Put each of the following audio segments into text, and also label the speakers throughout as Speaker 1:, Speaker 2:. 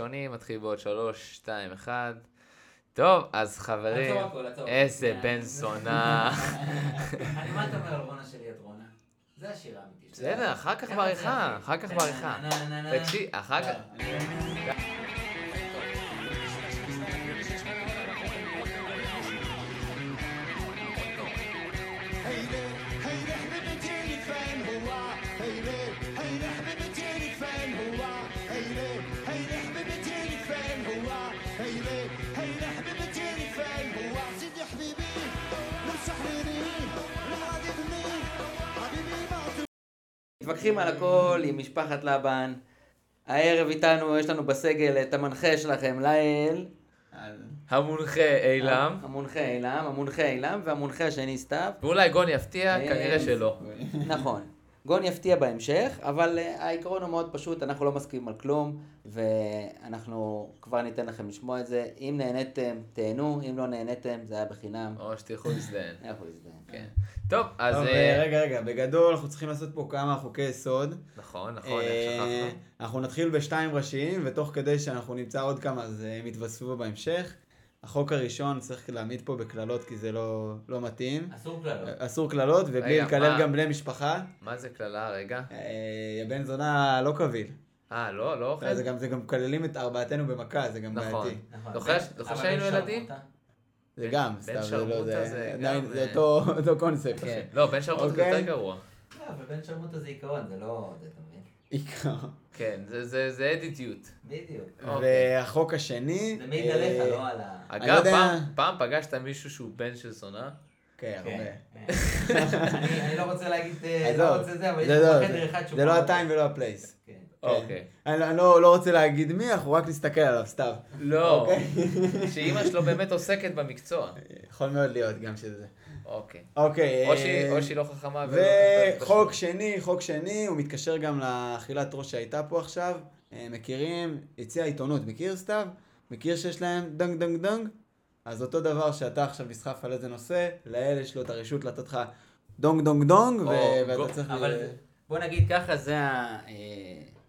Speaker 1: ראשונים, מתחיל בעוד שלוש, שתיים, אחד. טוב, אז חברים,
Speaker 2: עצור הכל, עצור.
Speaker 1: איזה
Speaker 3: כן.
Speaker 1: בן זונה.
Speaker 2: אני מה אתה אומר על רונה שלי את רונה? זה השיר האמיתי. שלי.
Speaker 1: בסדר, אחר כך
Speaker 2: ככה
Speaker 1: בעריכה,
Speaker 2: צריך.
Speaker 1: אחר כך בעריכה.
Speaker 2: נה, נה, נה, נה.
Speaker 1: תקשיב, אחר כך...
Speaker 2: מתווכחים על הכל עם משפחת לבן. הערב איתנו, יש לנו בסגל את המנחה שלכם, לאל.
Speaker 1: המונחה אילם,
Speaker 2: המונחה אילם, המונחה אילם והמונחה השני סתיו.
Speaker 1: ואולי גון יפתיע,
Speaker 2: אה,
Speaker 1: כנראה שלא.
Speaker 2: נכון. גון יפתיע בהמשך, אבל אה, העיקרון הוא מאוד פשוט, אנחנו לא מסכימים על כלום, ואנחנו כבר ניתן לכם לשמוע את זה. אם נהניתם, תהנו, אם לא נהניתם, זה היה בחינם.
Speaker 1: או שתלכו להזדהן.
Speaker 2: אנחנו נזדהן.
Speaker 1: כן. טוב, אז...
Speaker 3: טוב,
Speaker 1: אה,
Speaker 3: רגע, רגע, בגדול אנחנו צריכים לעשות פה כמה חוקי יסוד.
Speaker 1: נכון, נכון, איך
Speaker 3: אה,
Speaker 1: שכחנו.
Speaker 3: אנחנו נתחיל בשתיים ראשיים, ותוך כדי שאנחנו נמצא עוד כמה, אז אה, הם יתווספו בהמשך. החוק הראשון צריך להעמיד פה בקללות, כי זה לא לא מתאים.
Speaker 2: אסור לא. קללות.
Speaker 3: אסור קללות, ובלי
Speaker 1: רגע,
Speaker 3: לקלל
Speaker 1: מה?
Speaker 3: גם בני משפחה.
Speaker 1: מה זה קללה, רגע?
Speaker 3: אה, הבן זונה לא קביל.
Speaker 1: אה, לא, לא אוכל?
Speaker 3: זה גם- זה גם מקללים את ארבעתנו במכה, זה גם
Speaker 1: נכון.
Speaker 3: בעייתי.
Speaker 1: זוכר זוכר שהיינו ילדים?
Speaker 3: זה
Speaker 1: בן-
Speaker 3: גם,
Speaker 1: בן
Speaker 3: סתם, זה
Speaker 1: שרמוטה
Speaker 3: לא,
Speaker 1: זה
Speaker 3: זה עדיין,
Speaker 1: גם,
Speaker 3: זה
Speaker 1: אה,
Speaker 3: אותו אותו קונספט.
Speaker 1: כן. לא, בן שרמוט זה
Speaker 3: אוקיי.
Speaker 1: יותר גרוע.
Speaker 2: לא, אבל בן שרמוטה זה עיקרון, זה לא... זה אתה מבין?
Speaker 3: עיקר.
Speaker 1: כן, זה- זה זה attitude.
Speaker 2: בדיוק.
Speaker 1: אוקיי.
Speaker 3: והחוק השני...
Speaker 2: זה מעיד
Speaker 3: אה,
Speaker 2: עליך, לא על ה...
Speaker 3: אני
Speaker 1: אגב,
Speaker 3: יודע-
Speaker 1: פעם- פעם פגשת מישהו שהוא בן של זונה?
Speaker 3: כן, הרבה.
Speaker 2: אני אני לא רוצה להגיד, אה,
Speaker 3: עזוב,
Speaker 2: לא רוצה זה, אבל יש
Speaker 3: זה לא-
Speaker 2: פה חדר אחד שהוא...
Speaker 3: זה לא
Speaker 2: כזה.
Speaker 3: הטיים ולא הפלייס.
Speaker 2: כן.
Speaker 1: אוקיי.
Speaker 3: אני אני לא לא רוצה להגיד מי, אנחנו רק נסתכל עליו, סתיו.
Speaker 1: לא,
Speaker 3: אוקיי.
Speaker 1: שאימא שלו באמת עוסקת במקצוע.
Speaker 3: יכול מאוד להיות גם שזה.
Speaker 1: אוקיי.
Speaker 3: אוקיי.
Speaker 1: או
Speaker 3: אה,
Speaker 1: שהיא- או שהיא לא חכמה ולא...
Speaker 3: וחוק
Speaker 1: לא.
Speaker 3: שני, חוק שני, הוא מתקשר גם לאכילת ראש שהייתה פה עכשיו. אה, מכירים, הציע עיתונות, מכיר סתיו? מכיר שיש להם דנג דנג דנג? אז אותו דבר שאתה עכשיו נסחף על איזה נושא, לאל יש לו את הרשות לתת לך דונג דונג דונג, ו-
Speaker 1: או, גו-
Speaker 3: ואתה צריך...
Speaker 2: אבל
Speaker 3: ל-
Speaker 2: בוא נגיד ככה, זה ה... אה,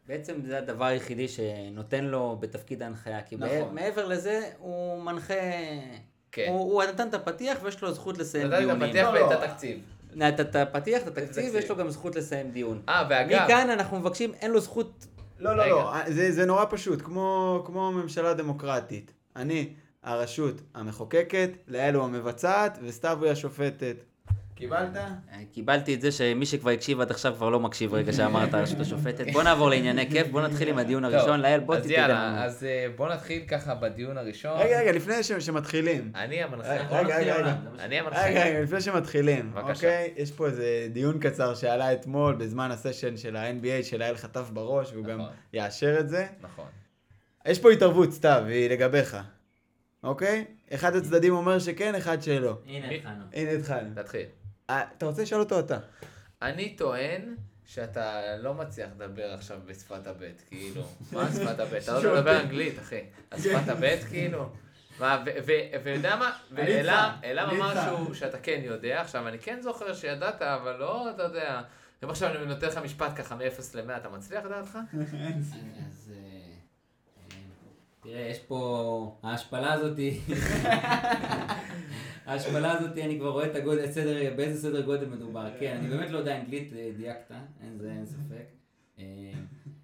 Speaker 2: בעצם זה הדבר היחידי שנותן לו בתפקיד ההנחיה, כי נכון.
Speaker 3: נכון.
Speaker 2: מעבר לזה הוא מנחה...
Speaker 1: כן.
Speaker 2: הוא, הוא נתן את הפתיח ויש לו זכות לסיים
Speaker 1: נתן
Speaker 2: דיונים.
Speaker 1: את הפתיח
Speaker 3: לא,
Speaker 1: ואת
Speaker 3: לא.
Speaker 1: התקציב.
Speaker 2: נתן את הפתיח, את התקציב,
Speaker 1: התקציב.
Speaker 2: ויש לו גם זכות לסיים דיון.
Speaker 1: אה, ואגב...
Speaker 2: מכאן אנחנו מבקשים, אין לו זכות...
Speaker 3: לא,
Speaker 1: רגע.
Speaker 3: לא, לא, זה, זה נורא פשוט, כמו, כמו ממשלה דמוקרטית. אני הרשות המחוקקת, לאל הוא המבצעת, וסתיו היא השופטת. קיבלת?
Speaker 2: אה, קיבלתי את זה שמי שכבר הקשיב עד עכשיו כבר לא מקשיב רגע שאמרת הרשות השופטת. בוא נעבור לענייני כיף, בוא נתחיל עם הדיון
Speaker 1: טוב,
Speaker 2: הראשון. לאל, בוא
Speaker 1: אז
Speaker 2: תתקדם.
Speaker 1: יאללה, אז אה, בוא נתחיל ככה בדיון הראשון.
Speaker 3: רגע, רגע, לפני ש, שמתחילים.
Speaker 1: אני
Speaker 3: רגע,
Speaker 1: המנחה.
Speaker 3: רגע, רגע, רגע.
Speaker 1: אני המנחה.
Speaker 3: רגע, רגע, לפני שמתחילים,
Speaker 1: בבקשה.
Speaker 3: אוקיי? יש פה איזה דיון קצר שעלה אתמול בזמן הסשן של ה-NBA שלאל חטף בראש, והוא גם
Speaker 1: נכון.
Speaker 3: יאשר את זה.
Speaker 1: נכון.
Speaker 3: יש פה התערבות, סתיו, היא לגביך, אוקיי? אחד הצדדים אומר שכן, אחד שלא.
Speaker 2: הנה התחלנו.
Speaker 3: הנה התחלנו.
Speaker 1: תתחיל.
Speaker 3: אה, אתה רוצה לשאול אותו אתה?
Speaker 1: אני טוען שאתה לא מצליח לדבר עכשיו בשפת הבט, כאילו. מה שפת הבט? אתה לא יודע
Speaker 3: כן.
Speaker 1: לדבר אנגלית, אחי. אז שפת הבט, כאילו. מה, ו- ו- ויודע מה?
Speaker 3: אני איתך,
Speaker 1: ואלעם אלעם
Speaker 3: אני
Speaker 1: אמר
Speaker 3: איתך.
Speaker 1: שהוא- שאתה כן יודע, עכשיו אני כן זוכר שידעת, אבל לא, אתה יודע. אם עכשיו אני נותן לך משפט ככה מ-0 ל-100, אתה מצליח לדעתך? כן.
Speaker 2: אז אה, אה, תראה, יש פה, ההשפלה הזאת, ההשפלה הזאת, אני כבר רואה את הגודל, את סדר, באיזה סדר גודל מדובר. כן, אני באמת לא יודע אנגלית, אה, דייקת, אין זה, אין ספק. אה,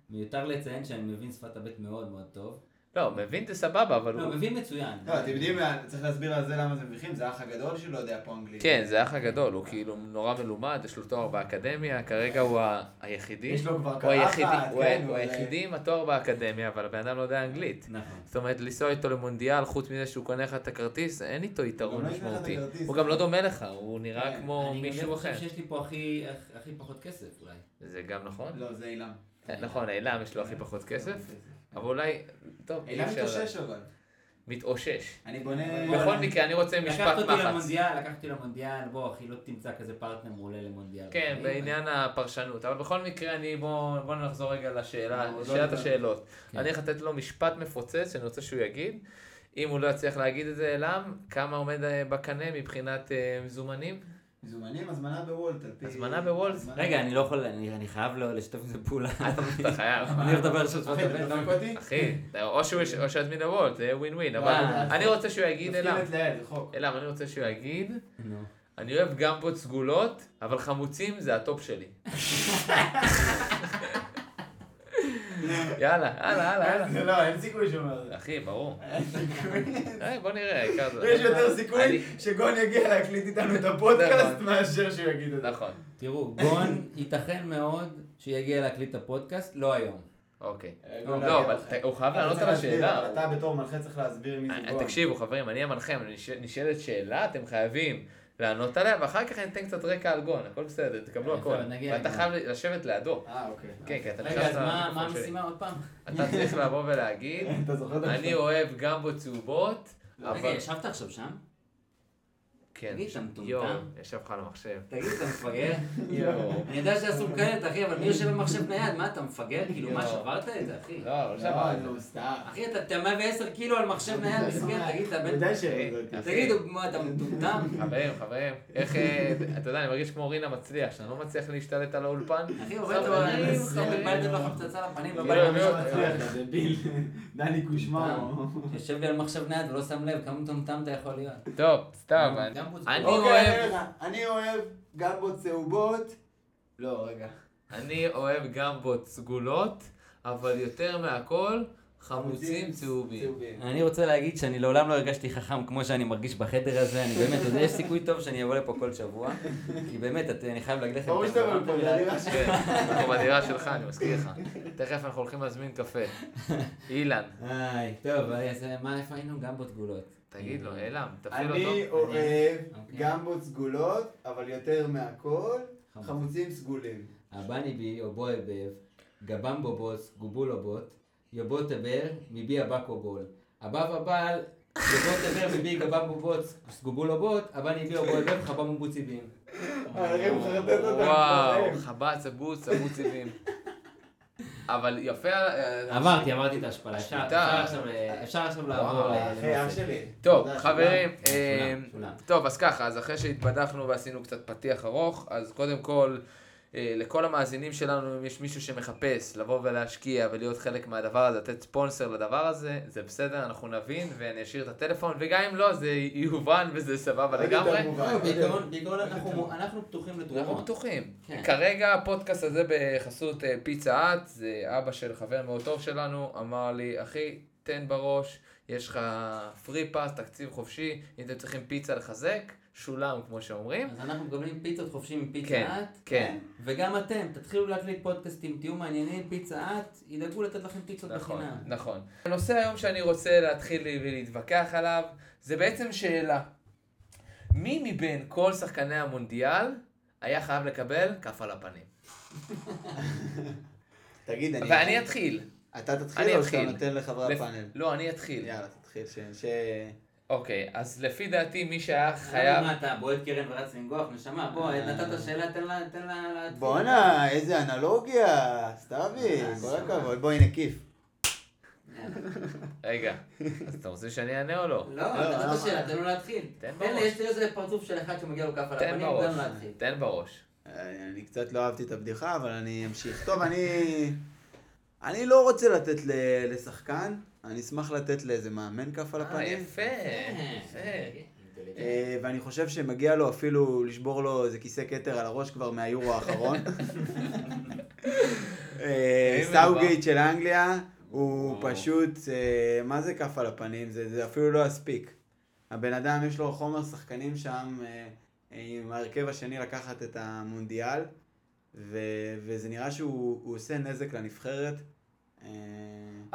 Speaker 2: מיותר לציין שאני מבין שפת הבית מאוד מאוד טוב.
Speaker 1: לא, מבין זה סבבה, אבל
Speaker 2: לא,
Speaker 1: הוא...
Speaker 2: מבין מצוין.
Speaker 3: לא, אתם יודעים, צריך להסביר על זה למה זה מביכים, זה האח הגדול שלא יודע פה אנגלית.
Speaker 1: כן, זה אח הגדול, הוא כאילו נורא מלומד, יש לו תואר באקדמיה, כרגע הוא ה- היחידי.
Speaker 3: יש לו כבר
Speaker 1: הוא היחידי-
Speaker 3: קרחת,
Speaker 1: הוא
Speaker 3: כן,
Speaker 1: ה- הוא
Speaker 3: אבל-
Speaker 1: היחידי עם התואר באקדמיה, אבל הבן אדם לא יודע אנגלית.
Speaker 2: נכון.
Speaker 1: זאת אומרת, לנסוע איתו למונדיאל, חוץ מזה שהוא קונה לך את הכרטיס, אין איתו
Speaker 3: הוא
Speaker 1: יתרון
Speaker 3: לא יקנה לך את
Speaker 1: משמעותי.
Speaker 3: הכרטיס.
Speaker 1: הוא גם לא דומה לך, הוא נראה
Speaker 3: כן.
Speaker 1: כמו מישהו
Speaker 2: אני גם
Speaker 1: אחר.
Speaker 2: חושב שיש לי פה הכי, הכי פחות כסף אולי.
Speaker 1: זה גם נכון?
Speaker 3: לא, כן, זה אילם.
Speaker 1: נכון, אילם יש לו הכי פחות כסף, אבל אולי, טוב, אי
Speaker 3: אילם
Speaker 1: אפשר...
Speaker 3: מתאושש אבל.
Speaker 1: מתאושש.
Speaker 3: אני בונה...
Speaker 1: בכל מקרה, אני רוצה משפט
Speaker 2: לקחת אותי
Speaker 1: מחץ.
Speaker 2: למונדיאל, לקחת אותי למונדיאל, בוא אחי, לא תמצא כזה פרטנר מעולה למונדיאל.
Speaker 1: כן,
Speaker 2: בחיים.
Speaker 1: בעניין הפרשנות. אבל בכל מקרה, אני... בואו בוא נחזור רגע לשאלה,
Speaker 3: לא, עוד לא
Speaker 1: שאלת
Speaker 3: דיברנו.
Speaker 1: השאלות.
Speaker 2: כן.
Speaker 1: אני הולך לתת לו משפט מפוצץ שאני רוצה שהוא יגיד. אם הוא לא יצליח להגיד את זה, אלעם, כמה עומד אה, בקנה מבחינת אה, מזומנים?
Speaker 4: מזומנים, הזמנה בוולט, על פי...
Speaker 1: הזמנה בוולט.
Speaker 2: רגע, אני לא יכול, אני אני חייב לא לשתף עם זה פעולה.
Speaker 1: אתה חייב.
Speaker 2: אני הולך לדבר על שותפות
Speaker 4: אחי, אתה
Speaker 2: הבן.
Speaker 4: דופק אותי?
Speaker 1: אחי, או שהוא יש- או שיזמין לוולט, זה יהיה ווין ווין, אבל
Speaker 2: אה,
Speaker 1: אני רוצה שהוא יגיד
Speaker 4: דופקים
Speaker 1: אליו,
Speaker 4: את ליד, רחוק.
Speaker 1: אליו, אני רוצה שהוא יגיד,
Speaker 2: נו.
Speaker 1: אני אוהב גמבות סגולות, אבל חמוצים זה הטופ שלי. יאללה, יאללה, יאללה, יאללה.
Speaker 4: זה לא, אין סיכוי שהוא אומר את זה.
Speaker 1: אחי, ברור.
Speaker 4: אין סיכוי.
Speaker 1: אה, בוא נראה, העיקר זה...
Speaker 4: יש יותר סיכוי
Speaker 1: אני-
Speaker 4: שגון יגיע להקליט איתנו את הפודקאסט
Speaker 1: נכון.
Speaker 4: מאשר שהוא יגיד את זה.
Speaker 1: נכון,
Speaker 5: תראו, גון, ייתכן מאוד שיגיע להקליט את הפודקאסט, לא היום.
Speaker 1: אוקיי.
Speaker 4: גון
Speaker 1: לא,
Speaker 4: יגיע.
Speaker 1: אבל ת- הוא חייב
Speaker 4: אה, אתה
Speaker 1: לענות
Speaker 4: צריך
Speaker 1: על
Speaker 4: להסביר,
Speaker 1: השאלה. אה,
Speaker 4: אבל אתה בתור מנחה צריך להסביר מי זה גון.
Speaker 1: תקשיבו, חברים, אני המנחה, אבל נש- נשאלת שאלה, אתם חייבים לענות עליה, ואחר כך אני אתן קצת רקע על גון, הכל בסדר, תקבלו
Speaker 5: יפה,
Speaker 1: הכל.
Speaker 5: נגיע
Speaker 1: ואתה
Speaker 5: לגון.
Speaker 1: חייב לשבת לידו.
Speaker 4: אה, אוקיי.
Speaker 1: כן, כי אתה
Speaker 5: רגע, אז
Speaker 1: נכנס
Speaker 5: מה מה
Speaker 1: למיקרופון שלי.
Speaker 5: המשימה עוד פעם?
Speaker 1: אתה צריך לבוא ולהגיד,
Speaker 4: אתה זוכר את
Speaker 1: אני אוהב גמבות צהובות,
Speaker 5: רגע,
Speaker 1: אבל...
Speaker 5: ישבת עכשיו שם?
Speaker 1: כן,
Speaker 5: תגיד, אתה מטומטם?
Speaker 1: יואו, ישב לך על המחשב.
Speaker 5: תגיד, אתה מפגר?
Speaker 1: יואו.
Speaker 5: אני יודע שאסור כאלה, אחי, אבל מי יושב במחשב נייד? מה, אתה מפגר? כאילו, מה,
Speaker 1: לא.
Speaker 5: שברת את זה, אחי?
Speaker 1: לא, לא
Speaker 4: לא,
Speaker 1: שמעת.
Speaker 4: נו, סתם.
Speaker 5: אחי, אתה אתה 110 קילו על מחשב נייד, מסכן, תגיד, אתה
Speaker 4: אני
Speaker 5: בן...
Speaker 4: יודע ש-
Speaker 5: תגיד, מה, אתה מטומטם?
Speaker 1: חברים, חברים, איך, אה, אתה יודע, אני מרגיש כמו רינה מצליח, שאני לא מצליח להשתלט על האולפן.
Speaker 5: אחי, עובד לו,
Speaker 1: חברים,
Speaker 5: אני
Speaker 1: חברים.
Speaker 5: בלתם לך פצצה לפנים,
Speaker 1: לא,
Speaker 5: בבית.
Speaker 1: לא.
Speaker 4: מצליח, זה ביל. דני קושמרו.
Speaker 5: יושב לי על מחשב נייד ולא שם לב, כמה מטומטם אתה יכול להיות.
Speaker 1: טוב, סתם, אני-
Speaker 5: גם בוצע.
Speaker 1: אני
Speaker 5: אוקיי,
Speaker 1: אוהב-
Speaker 4: אני אוהב- אני אוהב גמבות צהובות. לא, רגע.
Speaker 1: אני אוהב גמבות סגולות, אבל יותר מהכל, חמוצים צהובים.
Speaker 4: צהובים.
Speaker 5: אני רוצה להגיד שאני לעולם לא הרגשתי חכם כמו שאני מרגיש בחדר הזה, אני באמת, אתה יודע, יש סיכוי טוב שאני אבוא לפה כל שבוע, כי באמת, את- אני
Speaker 1: אוקיי,
Speaker 5: חייב להגיד לכם...
Speaker 4: ברור שאתה
Speaker 5: אתם
Speaker 4: אומר פה,
Speaker 5: גרמתם
Speaker 4: זה
Speaker 5: לי-
Speaker 4: נראה ש...
Speaker 1: כן, אנחנו בדירה שלך, אני מזכיר לך. תכף אנחנו הולכים להזמין קפה. אילן,
Speaker 5: היי, טוב, אז אה, מה, איפה היינו? גמבות גבולות.
Speaker 1: תגיד לו, אילם, תפעיל אותו.
Speaker 4: אני אוהב
Speaker 5: אוקיי.
Speaker 4: גמבות סגולות, אבל יותר מהכל,
Speaker 5: חמוץ.
Speaker 4: חמוצים סגולים.
Speaker 5: הבני בי, או בוי בב, גבם בובוס, גובול אובוט, יובו תבר, מבי אבק אובול. אבב אבל, יובו תבר, מבי גבם בובוץ, גובול אובוט, הבני בי אובוי בב, חבם ובוצי בים.
Speaker 4: הרי הוא מחרטט אותם.
Speaker 1: וואו,
Speaker 4: כבר.
Speaker 1: חבץ, הבוץ, הבוץ עיבים. אבל יפה, אה,
Speaker 5: עברתי, עברתי את ההשפלה. אפשר
Speaker 1: שליטה.
Speaker 5: אפשר עכשיו ל- אפשר עכשיו
Speaker 1: וואו,
Speaker 5: לעבור ל-
Speaker 4: אחי, אח
Speaker 5: לנושא.
Speaker 4: שלי.
Speaker 1: טוב,
Speaker 4: תודה,
Speaker 1: חברים,
Speaker 5: שולם,
Speaker 1: אה,
Speaker 5: שולם.
Speaker 1: טוב, אז ככה, אז אחרי שהתבדחנו ועשינו קצת פתיח ארוך, אז קודם כל, אה, לכל המאזינים שלנו, אם יש מישהו שמחפש לבוא ולהשקיע ולהיות חלק מהדבר הזה, לתת ספונסר לדבר הזה, זה בסדר, אנחנו נבין ואני אשאיר את הטלפון, וגם אם לא, זה יובן וזה סבבה
Speaker 4: תודה. עוד
Speaker 1: לגמרי.
Speaker 4: יותר מובן.
Speaker 5: לא, בעיקרון- בעיקרון אנחנו- אנחנו פתוחים
Speaker 1: אנחנו
Speaker 5: לתרומות.
Speaker 1: פתוחים.
Speaker 5: כן.
Speaker 1: כרגע הפודקאסט הזה בחסות אה, פיצה את, זה אבא של חבר מאוד טוב שלנו, אמר לי, אחי, תן בראש, יש לך פרי פאס, תקציב חופשי, אם אתם צריכים פיצה לחזק, שולם כמו שאומרים.
Speaker 5: אז אנחנו מקבלים פיצות חופשי
Speaker 1: כן,
Speaker 5: מפיצה את,
Speaker 1: כן,
Speaker 5: וגם אתם, תתחילו להקליט פודקאסטים, תהיו מעניינים, פיצה את, ידאגו לתת לכם פיצות
Speaker 1: נכון,
Speaker 5: בחינם.
Speaker 1: נכון. הנושא היום שאני רוצה להתחיל ולהתווכח עליו, זה בעצם שאלה. מי מבין כל שחקני המונדיאל היה חייב לקבל כף על הפנים?
Speaker 4: תגיד, אני...
Speaker 1: ואני אתחיל.
Speaker 4: אתה
Speaker 1: אני
Speaker 4: תתחיל או
Speaker 1: אתחיל.
Speaker 4: שאתה נותן לחברי
Speaker 1: לפ-
Speaker 4: הפאנל?
Speaker 1: לא, אני אתחיל.
Speaker 4: יאללה, תתחיל. ש... ש-
Speaker 1: אוקיי, אז לפי דעתי מי שהיה
Speaker 5: לא
Speaker 1: חייב... אה.
Speaker 5: מה אתה בועט קרן ורץ לנגוח, נשמה, בוא, נתת שאלה, תן לה, תן לה להתחיל.
Speaker 4: בואנה, איזה אנלוגיה, סתיו,
Speaker 5: אה,
Speaker 4: כל
Speaker 5: שמע.
Speaker 4: הכבוד. בואי נקיף.
Speaker 1: רגע, אז אתה רוצה שאני אענה או לא?
Speaker 5: לא,
Speaker 4: לא,
Speaker 5: נתת
Speaker 4: למה?
Speaker 5: שאלה, תן לו להתחיל.
Speaker 1: תן
Speaker 5: תן לי,
Speaker 1: בראש.
Speaker 5: יש לי איזה פרצוף של אחד שמגיע לו כף על
Speaker 1: תן
Speaker 5: הפנים,
Speaker 1: בראש.
Speaker 5: תן לו להתחיל.
Speaker 1: תן בראש.
Speaker 4: אני קצת לא אהבתי את הבדיחה, אבל אני אמשיך. טוב, אני... אני לא רוצה לתת ל- לשחקן, אני אשמח לתת לאיזה מאמן כף על
Speaker 1: אה,
Speaker 4: הפנים.
Speaker 1: יפה,
Speaker 5: כן.
Speaker 1: יפה.
Speaker 4: אה, ואני חושב שמגיע לו אפילו לשבור לו איזה כיסא כתר על הראש כבר מהיורו האחרון. אה,
Speaker 1: אם
Speaker 4: סאוגייט של אנגליה, הוא
Speaker 1: וואו.
Speaker 4: פשוט, אה, מה זה כף על הפנים? זה זה אפילו לא יספיק. הבן אדם יש לו חומר שחקנים שם אה, עם ההרכב השני לקחת את המונדיאל, ו- וזה נראה שהוא הוא עושה נזק לנבחרת. אה,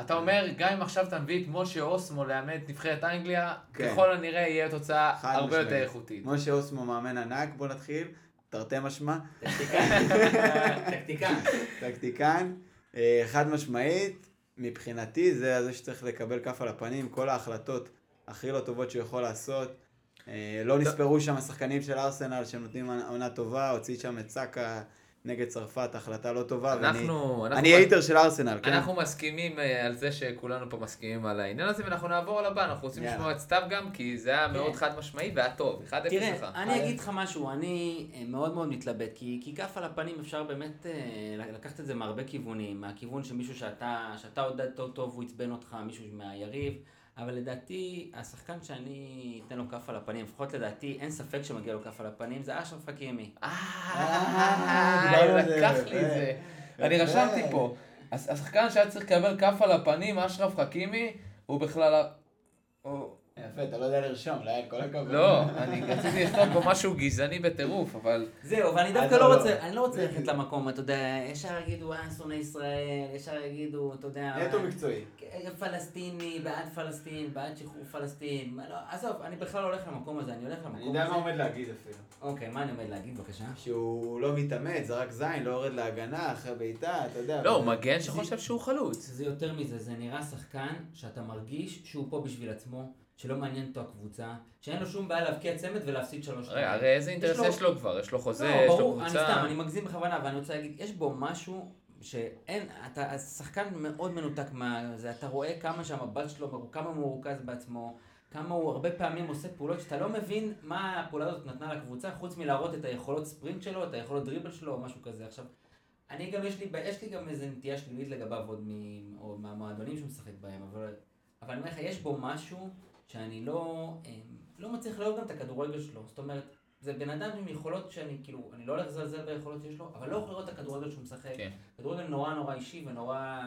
Speaker 1: אתה אומר, גם אם עכשיו אתה מביא את משה אוסמו לאמן את נבחרת אנגליה,
Speaker 4: כן.
Speaker 1: ככל הנראה יהיה תוצאה
Speaker 4: חד
Speaker 1: הרבה
Speaker 4: משמעית.
Speaker 1: יותר איכותית.
Speaker 4: משה אוסמו מאמן ענק, בוא נתחיל, תרתי משמע.
Speaker 5: טקטיקה.
Speaker 4: טקטיקן, אה, חד משמעית, מבחינתי זה זה שצריך לקבל כף על הפנים, כל ההחלטות הכי לא טובות שהוא יכול לעשות. אה, לא נספרו שם השחקנים של ארסנל שהם נותנים עונה טובה, הוציא שם את סאקה, נגד צרפת, החלטה לא טובה. ואני-
Speaker 1: אנחנו... אנחנו-
Speaker 4: אני הייטר של ארסנל, כן?
Speaker 1: אנחנו מסכימים אה, על זה שכולנו פה מסכימים על העניין הזה, ואנחנו נעבור על הבא, אנחנו רוצים
Speaker 4: יאללה.
Speaker 1: לשמוע את סתיו גם, כי זה היה מאוד
Speaker 5: כן.
Speaker 1: חד משמעי והיה טוב, 1-0 לך.
Speaker 5: תראה, אני
Speaker 6: אה,
Speaker 5: אגיד לך משהו, אני אה, מאוד מאוד מתלבט, כי כי כף על הפנים אפשר באמת אה, לקחת את זה מהרבה כיוונים, מהכיוון שמישהו שאתה שאתה עודדת אותו והוא עצבן אותך, מישהו מהיריב, אבל לדעתי, השחקן שאני אתן לו כף על הפנים, לפחות לדעתי, אין ספק שמגיע לו כף על הפנים, זה אשרף חכימי.
Speaker 1: אה,
Speaker 4: דיברנו על אה, זה,
Speaker 1: לקח לי
Speaker 4: יפה.
Speaker 1: את זה. אני רשמתי פה, הש- השחקן שהיה צריך לקבל כף על הפנים, אשרף חכימי, הוא בכלל... ה- הוא-
Speaker 4: יפה, אתה לא יודע לרשום, לאן, כל הכבוד.
Speaker 1: לא, אני רציתי לכתוב פה משהו גזעני בטירוף, אבל...
Speaker 5: זהו, אבל אני דווקא
Speaker 4: לא,
Speaker 5: לא
Speaker 4: לא.
Speaker 5: רוצה, אני לא רוצה ללכת למקום, אתה יודע, ישר יגידו, אה, שונא ישראל, ישר יגידו, אתה יודע... "אה,
Speaker 4: נטו מקצועי.
Speaker 5: פלסטיני, בעד פלסטין, בעד שחרור פלסטין. מה לא, עזוב, אני בכלל לא הולך למקום הזה, אני הולך למקום
Speaker 4: אני
Speaker 5: הזה.
Speaker 4: יודע מה עומד להגיד אפילו.
Speaker 5: אוקיי, מה אני עומד להגיד, בבקשה?
Speaker 4: שהוא לא מתאמץ, זרק זין, לא יורד להגנה, אחרי בעיטה, אתה יודע.
Speaker 1: לא, הוא מגן שחושב שהוא חלוץ.
Speaker 5: זה יותר מזה, זה נראה שחקן שאתה מרגיש שהוא פה בשביל עצמו, שלא מעניין אותו הקבוצה, שאין לו שום בעיה להבקיע צמד ולהפסיד שלוש
Speaker 1: הרי- הרי איזה אינטרס
Speaker 5: לו-
Speaker 1: יש לו כבר? יש לו חוזה,
Speaker 5: לא,
Speaker 1: יש לו
Speaker 5: ברור, אני
Speaker 1: קבוצה.
Speaker 5: סתם, אני מגזים בכוונה, ואני רוצה להגיד, יש בו משהו שאין, אתה שחקן מאוד מנותק מה... זה, אתה רואה כמה שהמבט שלו, כמה הוא מרוכז בעצמו, כמה הוא הרבה פעמים עושה פעולות שאתה לא מבין מה הפעולה הזאת נתנה לקבוצה, חוץ מלהראות את היכולות ספרינט שלו, את היכולות דריבל שלו, או משהו כזה. עכשיו, אני גם, יש לי, יש לי גם איזו נטייה שלילית לגביו עוד מ- או מהמועדונים שהוא משחק בהם, אבל, אבל אני אומר לך, יש בו משהו שאני לא, אה, לא מצליח לאהוב גם את הכדורגל שלו. זאת אומרת, זה בן אדם עם יכולות שאני, כאילו, אני לא הולך לזלזל ביכולות שיש לו, אבל לא הולך לראות את הכדורגל שהוא משחק.
Speaker 1: כן.
Speaker 5: כדורגל נורא נורא אישי ונורא, אה,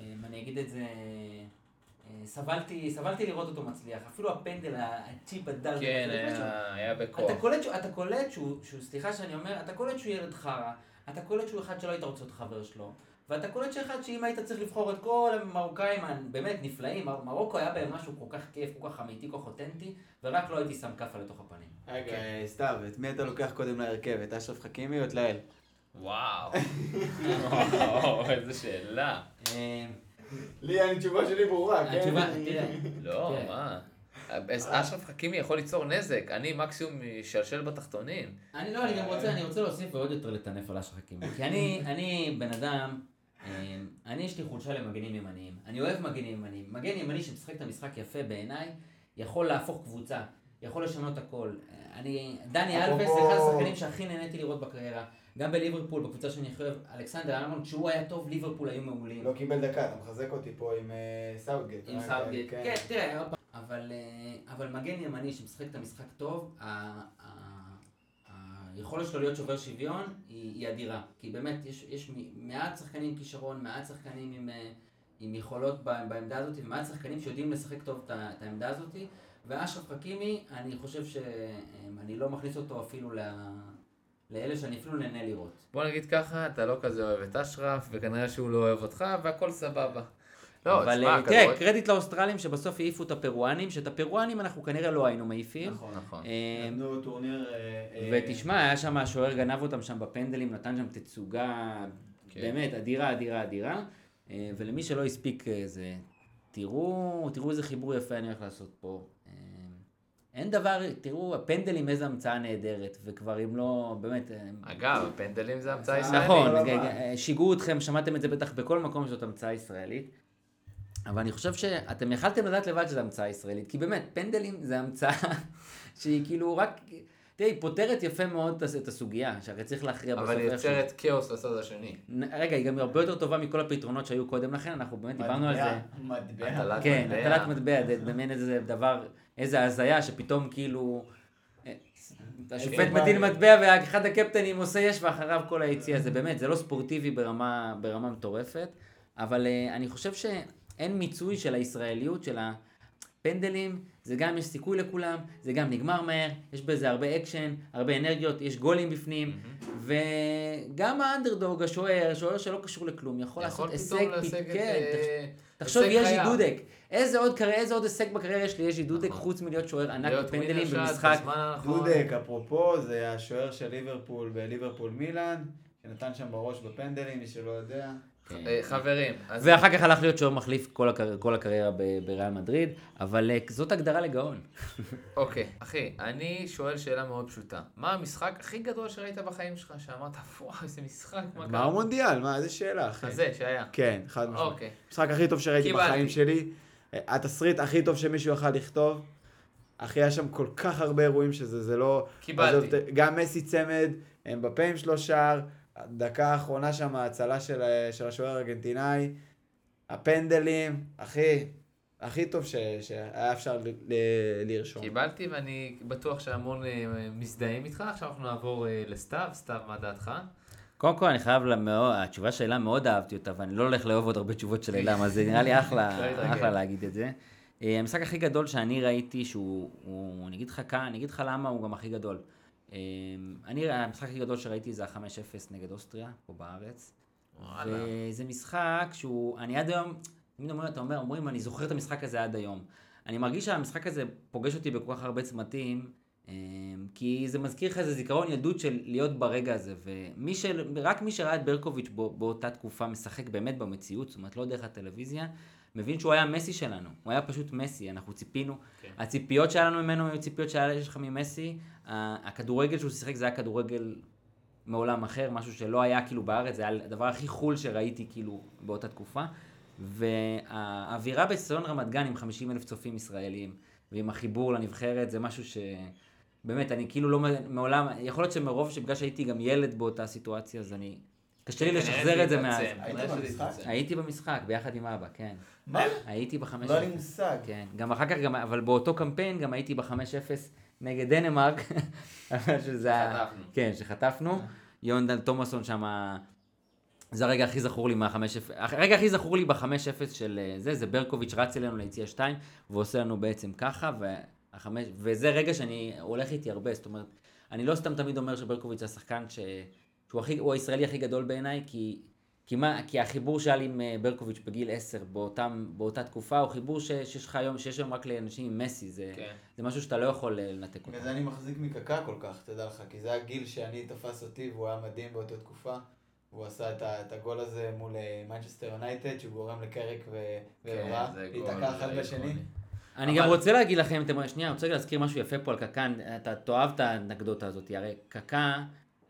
Speaker 5: אם אני אגיד את זה, אה, סבלתי, סבלתי לראות אותו מצליח. אפילו הפנדל, הצ'יפ הדל.
Speaker 1: כן,
Speaker 5: זה משהו-
Speaker 1: היה- היה בכוח.
Speaker 5: אתה קולט, שהוא- אתה קולט שהוא, שהוא, סליחה שאני אומר, אתה קולט שהוא ילד חרא, אתה קולט שהוא אחד שלא היית רוצה להיות חבר שלו, ואתה קולט שאחד שאם היית צריך לבחור את כל המרוקאים הבאמת נפלאים, מר, מרוקו היה בהם משהו כל כך כיף, כל כך אמיתי, כל כך אותנטי, ורק לא הייתי שם כאפה לתוך הפנים.
Speaker 4: רגע, אה, סתיו, את מי אתה לוקח קודם להרכב? את אשרף חכימי או את לאל?
Speaker 1: וואו. וואו, איזה שאלה.
Speaker 5: אה,
Speaker 4: לי, התשובה שלי ברורה, כן?
Speaker 5: התשובה, תראה,
Speaker 1: לא,
Speaker 5: כן.
Speaker 1: מה? אז אשרף חכימי יכול ליצור נזק, אני מקסימום אשלשל בתחתונים.
Speaker 5: אני לא, אני גם רוצה, אני רוצה להוסיף ועוד יותר לטנף על השחקים. כי אני, אני בן אדם, אה, אני יש לי חולשה למגנים ימניים. אני אוהב מגנים ימניים. מגן ימני שמשחק את המשחק יפה בעיניי, יכול להפוך קבוצה, יכול לשנות הכל. אה, אני, דני אלבס,
Speaker 4: אפרופו-
Speaker 5: אחד השחקנים שהכי נהניתי לראות בקריירה. גם בליברפול, בקבוצה שאני הכי אוהב, אלכסנדר אלמון, כשהוא היה טוב, ליברפול היו מעולים.
Speaker 4: לא קיבל דקה, אתה מחזק אותי פה עם אה, סאוטגייט.
Speaker 5: עם
Speaker 4: רק,
Speaker 5: סאוטגייט.
Speaker 4: אה,
Speaker 5: כן, תראה, עוד פעם. אבל, אה, אבל מגן ימני שמשחק את המשחק טוב, ה- ה- היכולת שלו להיות שובר שוויון היא, היא אדירה. כי באמת, יש, יש מ- מעט שחקנים עם כישרון, מעט שחקנים עם, אה, עם יכולות ב- בעמדה הזאת, ומעט שחקנים שיודעים לשחק טוב את ה- את העמדה הזאת. ואשרף חכימי, אני חושב שאני לא מכניס אותו אפילו ל... לאלה שאני אפילו נהנה לראות.
Speaker 1: בוא נגיד ככה, אתה לא כזה אוהב את אשרף, וכנראה שהוא לא אוהב אותך, והכל סבבה. לא, תשמע,
Speaker 5: אה, תראה,
Speaker 1: כדורגל...
Speaker 5: קרדיט לאוסטרלים שבסוף העיפו את הפרואנים, שאת הפרואנים אנחנו כנראה לא היינו מעיפים.
Speaker 4: נכון.
Speaker 1: נכון.
Speaker 5: אה,
Speaker 4: נתנו טורניר... אה, אה,
Speaker 5: ותשמע, היה שם, השוער גנב אותם שם בפנדלים, נתן שם תצוגה
Speaker 1: כן.
Speaker 5: באמת אדירה, אדירה, אדירה. אה, ולמי שלא הספיק אה, זה, תראו, תראו איזה חיבור יפה אני הולך לעשות פה. אה, אין דבר, תראו, הפנדלים איזה המצאה נהדרת, וכבר אם לא, באמת... אה,
Speaker 1: אגב, פנדלים זה המצאה ישראלית.
Speaker 5: נכון,
Speaker 4: לא
Speaker 5: ג-
Speaker 4: לבן.
Speaker 5: ג- שיגעו אתכם, שמעתם את זה בטח בכל מקום שזאת המצאה ישראלית. אבל אני חושב שאתם יכלתם לדעת לבד שזו המצאה ישראלית, כי באמת, פנדלים זה המצאה שהיא כאילו רק, תראה, היא פותרת יפה מאוד את הסוגיה, שהרי צריך להכריע בסוף.
Speaker 1: אבל היא
Speaker 5: איכשהו.
Speaker 1: יוצרת כאוס לצד השני.
Speaker 5: נ- רגע, היא גם הרבה יותר טובה מכל הפתרונות שהיו קודם לכן, אנחנו באמת דיברנו על זה.
Speaker 4: מטבע.
Speaker 1: הטלת
Speaker 5: כן,
Speaker 1: מטבע.
Speaker 5: הטלת מטבע, זה במין איזה דבר, איזה הזיה שפתאום כאילו... אה, השופט מטיל מטבע ואחד הקפטנים עושה יש ואחריו כל היציע, זה באמת, זה לא ספורטיבי ברמה, ברמה מטורפת, אבל אה, אני חושב שאין מיצוי של הישראליות, של הפנדלים, זה גם יש סיכוי לכולם, זה גם נגמר מהר, יש בזה הרבה אקשן, הרבה אנרגיות, יש גולים בפנים, וגם האנדרדוג, השוער, שוער שלא קשור לכלום, יכול לעשות
Speaker 1: יכול
Speaker 5: הישג,
Speaker 1: פתאום
Speaker 5: פ-
Speaker 1: לסגת...
Speaker 5: כן,
Speaker 1: אה,
Speaker 5: תחשוב- תחשוב,
Speaker 1: הישג
Speaker 5: יז'י
Speaker 1: חייו.
Speaker 5: דודק. איזה עוד קרי- איזה עוד הישג בקריירה יש ליז'י דודק
Speaker 1: נכון.
Speaker 5: חוץ מלהיות שוער ענק
Speaker 1: להיות
Speaker 5: בפנדלים
Speaker 1: ווינר שאת
Speaker 5: במשחק?
Speaker 1: בזמן הנכון.
Speaker 4: דודק, אפרופו, זה השוער של ליברפול בליברפול מילאן, שנתן שם בראש בפנדלים, מי שלא יודע.
Speaker 5: כן.
Speaker 1: אה, חברים, אז
Speaker 5: ואחר כך הלך להיות שוער מחליף כל, הקר... כל הקריירה ב... בריאל מדריד, אבל אה, זאת הגדרה לגאון.
Speaker 1: אוקיי, אחי, אני שואל שאלה מאוד פשוטה. מה המשחק הכי גדול שראית בחיים שלך, שאמרת, וואו, איזה משחק, מה
Speaker 4: גמר
Speaker 1: קרה?
Speaker 4: מונדיאל, מה, איזה שאלה, אחי.
Speaker 1: הזה שהיה.
Speaker 4: כן, חד משמעית.
Speaker 1: אוקיי.
Speaker 4: המשחק הכי טוב שראיתי
Speaker 1: קיבלתי.
Speaker 4: בחיים שלי. אה, התסריט הכי טוב שמישהו יכל לכתוב. אחי, היה שם כל כך הרבה אירועים שזה זה לא...
Speaker 1: קיבלתי.
Speaker 4: עזוב, ת- גם מסי צמד, אמבפה עם שלוש שער, הדקה האחרונה שם, ההצלה של, ה- של השוער הארגנטינאי, הפנדלים, אחי, הכי טוב ש- שהיה אפשר ל- ל- לרשום.
Speaker 1: קיבלתי, ואני בטוח שהמון אה, מזדהים איתך. עכשיו אנחנו נעבור אה, לסתיו. סתיו, מה דעתך?
Speaker 5: קודם כל, אני חייב, למאוד, התשובה של אלה מאוד אהבתי אותה, ואני לא הולך לאהוב עוד הרבה תשובות של אלה, אז זה נראה לי
Speaker 1: לא
Speaker 5: אחלה,
Speaker 1: התרגל.
Speaker 5: אחלה להגיד את זה. אה, המשחק הכי גדול שאני ראיתי, שהוא, הוא- אני אגיד לך כאן, אני אגיד לך למה הוא גם הכי גדול. אה, אני, המשחק הכי גדול שראיתי זה ה-5-0 נגד אוסטריה, פה בארץ.
Speaker 1: וואלה.
Speaker 5: וזה משחק שהוא, אני עד היום, תמיד אומר, אתה אומר, אומרים, אני זוכר את המשחק הזה עד היום. אני מרגיש שהמשחק הזה פוגש אותי בכל כך הרבה צמתים, אמ, כי זה מזכיר לך איזה זיכרון ילדות של להיות ברגע הזה, ומי של, רק מי שראה את ברקוביץ' בא, באותה תקופה משחק באמת במציאות, זאת אומרת לא דרך הטלוויזיה, מבין שהוא היה מסי שלנו, הוא היה פשוט מסי, אנחנו ציפינו,
Speaker 1: כן.
Speaker 5: הציפיות שלנו ממנו היו ציפיות שהיה לך ממסי, ה- הכדורגל שהוא שיחק זה היה כדורגל מעולם אחר, משהו שלא היה כאילו בארץ, זה היה הדבר הכי חול שראיתי כאילו באותה תקופה. והאווירה באצטדיון רמת גן עם 50 אלף צופים ישראלים, ועם החיבור לנבחרת, זה משהו ש... באמת, אני כאילו לא מ- מעולם, יכול להיות שמרוב שבגלל שהייתי גם ילד באותה סיטואציה, אז אני... קשה
Speaker 1: כן, אה,
Speaker 5: לי לשחזר את זה מאז.
Speaker 7: היית
Speaker 1: כנראה שזה
Speaker 7: במשחק?
Speaker 1: התעצם.
Speaker 5: הייתי במשחק, ביחד עם אבא, כן.
Speaker 7: מה?
Speaker 5: הייתי בחמש...
Speaker 7: לא היה לי מושג.
Speaker 5: כן, גם אחר כך, גם, אבל באותו קמפיין גם הייתי ב-5-0 נגד דנמרק, שזה היה...
Speaker 1: חטפנו.
Speaker 5: כן, שחטפנו.
Speaker 7: אה.
Speaker 5: יונדן תומאסון שם, זה הרגע הכי זכור לי מה-5-0, הרגע הכי זכור לי ב-5-0 של אה, זה, זה ברקוביץ' רץ אלינו ליציע 2, ועושה לנו בעצם ככה, וה-5, וזה רגע שאני הולך איתי הרבה, זאת אומרת, אני לא סתם תמיד אומר שברקוביץ' זה השחקן ש... שהוא הכי, הוא הישראלי הכי גדול בעיניי, כי, כי, מה, כי החיבור שהיה לי עם אה, ברקוביץ' בגיל 10 באותם, באותה תקופה, הוא חיבור ש, שיש לך היום, שיש היום רק לאנשים עם מסי, זה,
Speaker 1: כן.
Speaker 5: זה משהו שאתה לא יכול אה, לנתק אותו.
Speaker 7: בגלל זה אני מחזיק מקקה כל כך, תדע לך, כי זה הגיל שאני תפס אותי והוא היה מדהים באותה תקופה. הוא עשה את, ה- את הגול הזה מול אה, מנצ'סטר יונייטד, שהוא גורם לקרק ו-
Speaker 1: כן,
Speaker 7: ועברה,
Speaker 1: זה גול,
Speaker 7: להיתקע אחד
Speaker 1: זה
Speaker 7: בשני.
Speaker 1: איקוני.
Speaker 5: אני
Speaker 1: אבל-
Speaker 5: גם רוצה להגיד לכם, אתם רואים, שנייה, אני רוצה להזכיר משהו יפה פה על קקה, אתה תאהב את האנקדוטה הזאת, הרי קקה,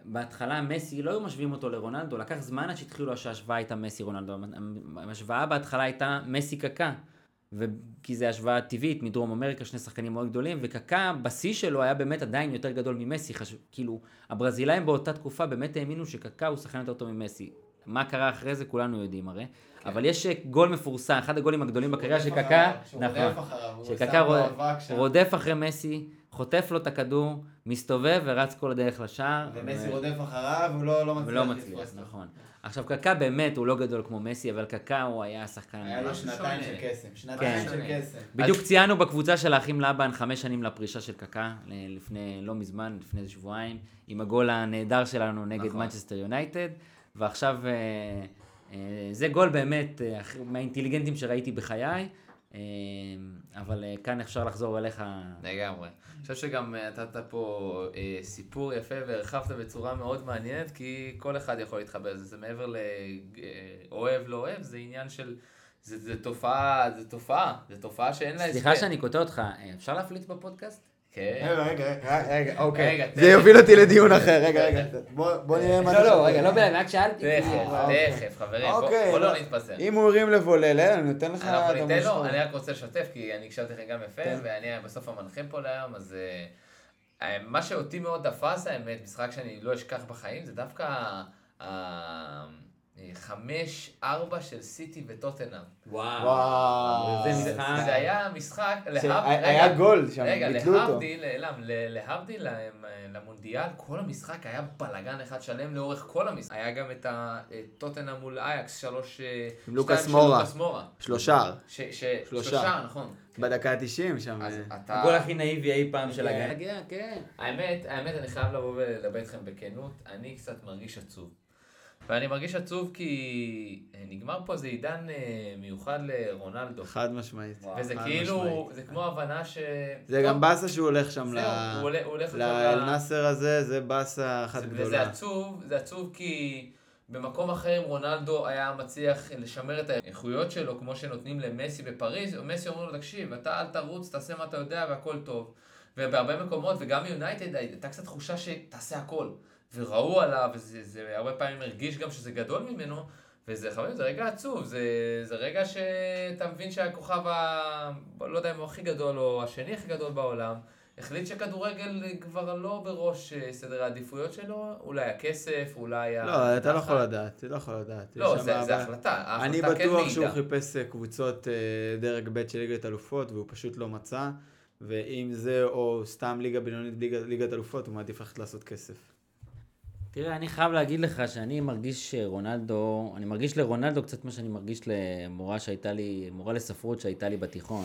Speaker 5: בהתחלה מסי, לא היו משווים אותו לרונלדו, לקח זמן עד שהתחילו שההשוואה הייתה מסי רונלדו, ההשוואה בהתחלה הייתה מסי קקה, ו... כי זו השוואה טבעית מדרום אמריקה, שני שחקנים מאוד גדולים, וקקה, בשיא שלו היה באמת עדיין יותר גדול ממסי, חש... כאילו, הברזילאים באותה תקופה באמת האמינו שקקה הוא שחקן יותר טוב ממסי. מה קרה אחרי זה כולנו יודעים הרי, אבל יש אה, גול מפורסם, אחד הגולים הגדולים בקריירה של
Speaker 7: רודף
Speaker 5: קקה,
Speaker 7: אחריו, שהוא
Speaker 5: נכון,
Speaker 7: רודף אחריו, הוא
Speaker 5: שקקה
Speaker 7: שם לו
Speaker 5: רוד-
Speaker 7: אבק שם.
Speaker 5: רודף אחרי מסי, חוטף לו את הכדור, מסתובב ורץ כל הדרך לשער.
Speaker 7: ומסי
Speaker 5: ו-
Speaker 7: רודף אחריו, הוא לא לא מצליח.
Speaker 5: ולא מצליח,
Speaker 7: לתפוס אותו.
Speaker 5: נכון. עכשיו, קקא באמת הוא לא גדול כמו מסי, אבל קקא הוא היה השחקן...
Speaker 7: היה לו
Speaker 1: משהו
Speaker 7: שנתיים
Speaker 1: שונה.
Speaker 7: של קסם, שנתיים
Speaker 5: כן.
Speaker 7: של קסם.
Speaker 5: בדיוק ציינו בקבוצה של האחים לבן חמש שנים לפרישה של קקא, ל- לפני, לא מזמן, לפני איזה שבועיים, עם הגול הנהדר שלנו נגד
Speaker 1: נכון.
Speaker 5: מנצ'סטר יונייטד, ועכשיו אה, אה, זה גול באמת אה, הכי- מהאינטליגנטים שראיתי בחיי, אה, אבל אה, כאן אפשר לחזור אליך.
Speaker 1: לגמרי. אני חושב שגם אה, נתת פה אה, סיפור יפה והרחבת בצורה מאוד מעניינת, כי כל אחד יכול להתחבר לזה. זה מעבר לאוהב, לא אוהב, זה עניין של... זה, זה תופעה, זה תופעה, זה תופעה שאין לה
Speaker 5: סליחה שאני קוטע אותך, אה, אפשר להפליץ בפודקאסט?
Speaker 1: כן.
Speaker 4: רגע, רגע, רגע, אוקיי.
Speaker 1: רגע, תן לי.
Speaker 4: זה יוביל אותי לדיון אחר, רגע, רגע. בוא בוא נראה מה...
Speaker 2: לא,
Speaker 4: אתה
Speaker 2: לא,
Speaker 4: שואל.
Speaker 2: רגע, לא באמת, רק שאלתי.
Speaker 1: תכף,
Speaker 4: אוקיי.
Speaker 1: תכף, חברים, בוא-
Speaker 4: אוקיי,
Speaker 1: בוא לא
Speaker 4: לא.
Speaker 1: נתפזר.
Speaker 4: אם הוא הרים לבולל, אה, אני נותן לך...
Speaker 1: אנחנו
Speaker 4: אתה
Speaker 1: ניתן לו,
Speaker 4: משחק.
Speaker 1: אני רק רוצה לשתף, כי אני הקשבתי לכם גם יפה,
Speaker 4: כן.
Speaker 1: ואני בסוף המנחה פה להיום, אז... אה, אה, מה שאותי מאוד תפס, האמת, משחק שאני לא אשכח בחיים, זה דווקא ה-5-4 של סיטי וטוטנאם.
Speaker 5: וואו.
Speaker 4: וואו.
Speaker 5: זה
Speaker 1: זה
Speaker 5: משחק.
Speaker 1: זה היה משחק,
Speaker 4: זה-
Speaker 1: להבדיל-
Speaker 4: אה. היה
Speaker 1: רגע,
Speaker 4: גול שם,
Speaker 1: רגע,
Speaker 4: ביטלו אותו.
Speaker 1: להבדיל, אה, אלעם, ל- להבדיל להם, אה, למונדיאל, כל המשחק היה בלאגן אחד שלם לאורך כל המשחק. היה גם את הטוטנה מול אייקס, שלוש... אה,
Speaker 4: עם לוקאס
Speaker 1: שתיים של
Speaker 4: מורה.
Speaker 1: לוקאס מורה.
Speaker 4: שלושה.
Speaker 1: ש- ש-
Speaker 4: שלושה.
Speaker 1: שלושה, נכון.
Speaker 4: בדקה ה-90 שם.
Speaker 1: אז
Speaker 4: אה.
Speaker 1: אתה...
Speaker 5: הגול הכי נאיבי אי פעם של הגן.
Speaker 2: כן.
Speaker 1: האמת, האמת, אני חייב לבוא ולדבר איתכם בכנות, אני קצת מרגיש עצוב. ואני מרגיש עצוב כי אה, נגמר פה איזה עידן אה, מיוחד לרונלדו.
Speaker 4: חד משמעית.
Speaker 1: וזה
Speaker 4: חד
Speaker 1: כאילו,
Speaker 4: משמעית.
Speaker 1: זה כמו הבנה ש...
Speaker 4: זה גם באסה שהוא הולך שם ל...
Speaker 1: זהו, הוא הולך- הוא הולך עכשיו ל-
Speaker 4: לאל-נאסר הזה, זה באסה אחת
Speaker 1: זה- וזה
Speaker 4: גדולה.
Speaker 1: עצוב, זה עצוב כי במקום אחר, אם רונלדו היה מצליח לשמר את האיכויות שלו, כמו שנותנים למסי בפריז, או מסי אומרים לו, תקשיב, אתה אל תרוץ, תעשה מה אתה יודע והכל טוב. ובהרבה מקומות, וגם יונייטד, הייתה קצת תחושה שתעשה הכל. וראו עליו, וזה זה הרבה פעמים הרגיש גם שזה גדול ממנו, וזה חברים, זה רגע עצוב, זה, זה רגע שאתה מבין שהכוכב ה... לא יודע אם הוא הכי גדול או השני הכי גדול בעולם, החליט שכדורגל כבר לא בראש אה, סדר העדיפויות שלו, אולי הכסף, אולי... ה-
Speaker 4: לא, אתה לא יכול לדעת, אתה לא יכול לדעת.
Speaker 1: לא,
Speaker 4: יש
Speaker 1: זה,
Speaker 4: שם
Speaker 1: זה
Speaker 4: אבל-
Speaker 1: החלטה, ההחלטה
Speaker 4: אני
Speaker 1: כן
Speaker 4: בטוח
Speaker 1: מעידה.
Speaker 4: שהוא חיפש אה, קבוצות אה, דרג ב' של ליגת אלופות, והוא פשוט לא מצא, ואם זה או סתם ליגה בינונית ליגה- ליגת אלופות, הוא מעדיף ללכת לעשות כסף.
Speaker 5: תראה, אני חייב להגיד לך שאני מרגיש שרונלדו, אני מרגיש לרונלדו קצת מה שאני מרגיש למורה שהייתה לי, מורה לספרות שהייתה לי בתיכון,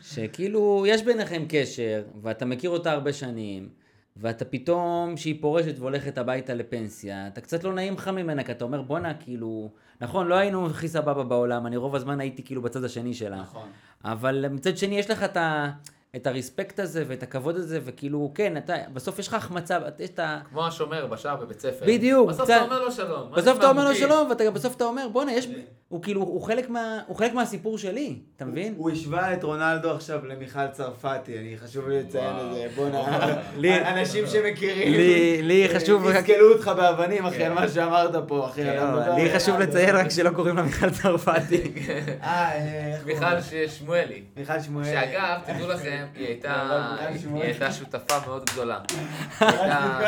Speaker 5: שכאילו, יש ביניכם קשר, ואתה מכיר אותה הרבה שנים, ואתה פתאום, שהיא פורשת והולכת הביתה לפנסיה, אתה קצת לא נעים לך ממנה, כי אתה אומר, בואנה, כאילו, נכון, לא היינו הכי סבבה בעולם, אני רוב הזמן הייתי כאילו בצד השני שלה.
Speaker 7: נכון.
Speaker 5: אבל מצד שני, יש לך את, ה, את הרספקט הזה ואת הכבוד הזה, וכאילו, כן, אתה, בסוף יש לך החמצה, יש את ה...
Speaker 1: כמו השומר בשער בבית ספר.
Speaker 5: בדיוק,
Speaker 1: בסוף
Speaker 5: קצת-
Speaker 1: אתה אומר לו שלום. מה
Speaker 5: בסוף
Speaker 1: נשמע,
Speaker 5: אתה אומר לו
Speaker 1: מוקיע?
Speaker 5: שלום, ואתה גם בסוף אתה אומר, בואנה, יש... הוא כאילו, הוא חלק, מה, הוא חלק מהסיפור שלי, אתה מבין?
Speaker 4: הוא השווה את רונלדו עכשיו למיכל צרפתי, אני חשוב לי לציין את זה, בוא'נה.
Speaker 7: לי- אנשים שמכירים,
Speaker 2: לי- לי חשוב-
Speaker 7: נסקלו אותך באבנים, אחי,
Speaker 4: כן.
Speaker 7: על מה שאמרת פה, אחי. על המדע.
Speaker 2: לי חשוב לציין רק שלא קוראים לה מיכל צרפתי.
Speaker 7: אה, אה, איך קוראים
Speaker 1: מיכל
Speaker 7: לה?
Speaker 1: ש- שמואלי.
Speaker 7: מיכל שמואל.
Speaker 1: שאגב, תדעו לכם, היא הייתה,
Speaker 7: אבל מיכל
Speaker 1: היא
Speaker 7: שמואלי.
Speaker 1: הייתה שותפה מאוד גדולה. הייתה-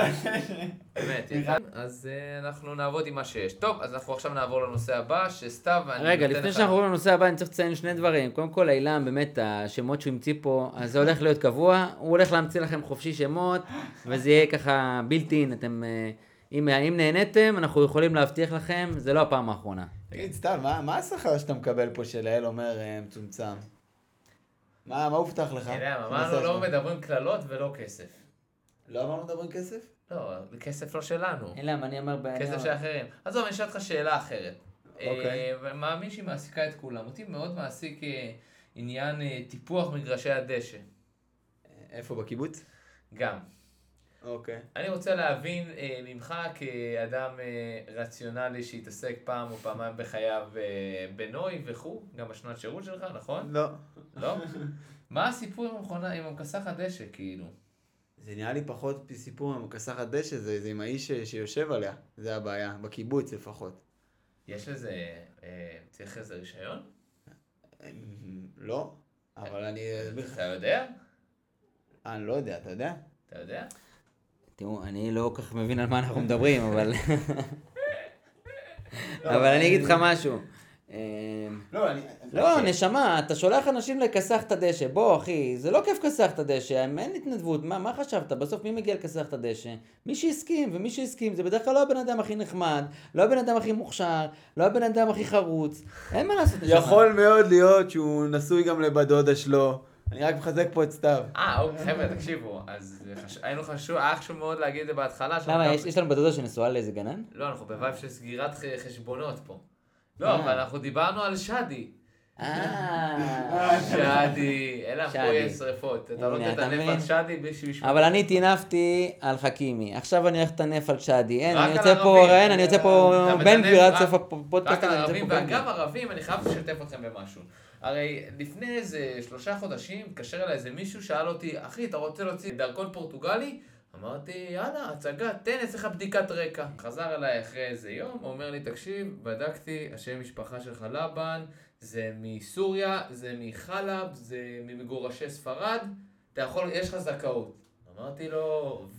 Speaker 1: באמת, היא הייתה- אז אה, אנחנו נעבוד עם מה שיש. טוב, אז אנחנו עכשיו נעבור לנושא הבא, שסתיו, אני
Speaker 5: רגע,
Speaker 1: נותן
Speaker 5: לפני
Speaker 1: לך-
Speaker 5: שאנחנו עוברים לנושא הבא, אני צריך לציין שני דברים. קודם כל, אילם, באמת, השמות שהוא המציא פה, אז זה הולך להיות קבוע. הוא הולך להמציא לכם חופשי שמות, וזה יהיה ככה בלתי אין. אתם, אה, אם, אם נהניתם, אנחנו יכולים להבטיח לכם, זה לא הפעם האחרונה.
Speaker 4: תגיד, סתם, מה- מה השכר שאתה מקבל פה שלאל אומר אה, מצומצם?
Speaker 7: מה, מה הובטח לך?
Speaker 1: אתה יודע,
Speaker 7: נעשה
Speaker 1: אמרנו לא
Speaker 7: עכשיו.
Speaker 1: מדברים קללות ולא כסף.
Speaker 7: לא אמרנו מדברים כסף?
Speaker 1: לא, כסף לא שלנו.
Speaker 5: אילם, אני אומר... ב- אני
Speaker 1: כסף
Speaker 5: אומר-
Speaker 1: של אחרים. עזוב, אני אשאל אותך שאלה אחרת.
Speaker 7: אוקיי.
Speaker 1: אה, ואני מאמין שהיא מעסיקה את כולם. אותי מאוד מעסיק אה, עניין אה, טיפוח מגרשי הדשא.
Speaker 4: איפה, בקיבוץ?
Speaker 1: גם.
Speaker 4: אוקיי.
Speaker 1: אני רוצה להבין אה, ממך כאדם אה, רציונלי שהתעסק פעם או פעמיים בחייו אה, בנוי וכו', גם בשנת שירות שלך, נכון?
Speaker 4: לא.
Speaker 1: לא? מה הסיפור עם המכונה, עם המכסח הדשא, כאילו?
Speaker 4: זה נראה לי פחות סיפור עם הכסחת דשא, זה זה עם האיש ש- שיושב עליה, זה הבעיה, בקיבוץ לפחות.
Speaker 1: יש לזה, אה, צריך איזה רישיון?
Speaker 4: אמ, לא, אבל אני אסביר לך.
Speaker 1: אתה יודע?
Speaker 4: אה, אני לא יודע, אתה יודע?
Speaker 1: אתה יודע?
Speaker 5: תראו, אני לא כל כך מבין על מה אנחנו מדברים, אבל... אבל לא, אני אגיד לך משהו. אמ,
Speaker 7: לא, אני...
Speaker 5: לא, נשמה, אתה שולח אנשים לכסח את הדשא. בוא, אחי, זה לא כיף לכסח את הדשא, אין התנדבות, מה, מה חשבת? בסוף מי מגיע לכסח את הדשא? מי שהסכים, ומי שהסכים, זה בדרך כלל לא הבן אדם הכי נחמד, לא הבן אדם הכי מוכשר, לא הבן אדם הכי חרוץ, אין מה לעשות, נשמה.
Speaker 4: יכול מאוד להיות שהוא נשוי גם לבת דודה שלו. אני רק מחזק פה את סתיו.
Speaker 1: אה, אוקיי, חבר'ה, תקשיבו, אז חש- היינו חשוב, היה חשוב מאוד להגיד את זה בהתחלה. שאנחנו
Speaker 5: למה,
Speaker 1: גם-
Speaker 5: יש, יש לנו בת דודה שנשואה לאיזה גנן?
Speaker 1: לא, אנחנו בווייב של סגירת ח- חשבונות פה. לא, אבל אנחנו דיברנו על שדי.
Speaker 5: אה...
Speaker 1: שדי, אלה פה
Speaker 5: שדי.
Speaker 1: יש שרפות. אתה לא
Speaker 5: הנה, אתה
Speaker 1: תטנף על
Speaker 5: מבין?
Speaker 1: שדי בלי שהוא ישמע.
Speaker 5: אבל אני טינפתי על חכימי, עכשיו אני הולך לטנף על שדי, אין,
Speaker 1: רק
Speaker 5: אני
Speaker 1: על
Speaker 5: יוצא פה,
Speaker 1: ערבים.
Speaker 5: אין, אני יוצא פה
Speaker 1: אתה
Speaker 5: בן
Speaker 1: מטנף
Speaker 5: גביר עד
Speaker 1: רק-
Speaker 5: סוף הפודקאסט
Speaker 1: רק
Speaker 5: הזה,
Speaker 1: על
Speaker 5: אני יוצא
Speaker 1: ערבים,
Speaker 5: פה בן גביר.
Speaker 1: ואגב ערבים, אני חייב לשתף אתכם במשהו. הרי לפני איזה שלושה חודשים התקשר אליי איזה מישהו, שאל אותי, אחי, אתה רוצה להוציא דרכון פורטוגלי? אמרתי, יאללה, הצגה, תן, אעשה לך בדיקת רקע. חזר אליי אחרי איזה יום, אומר לי, תקשיב, בדקתי, השם משפחה שלך לבן, זה מסוריה, זה מחלב, זה ממגורשי ספרד, אתה יכול, יש לך זכאות. אמרתי לו,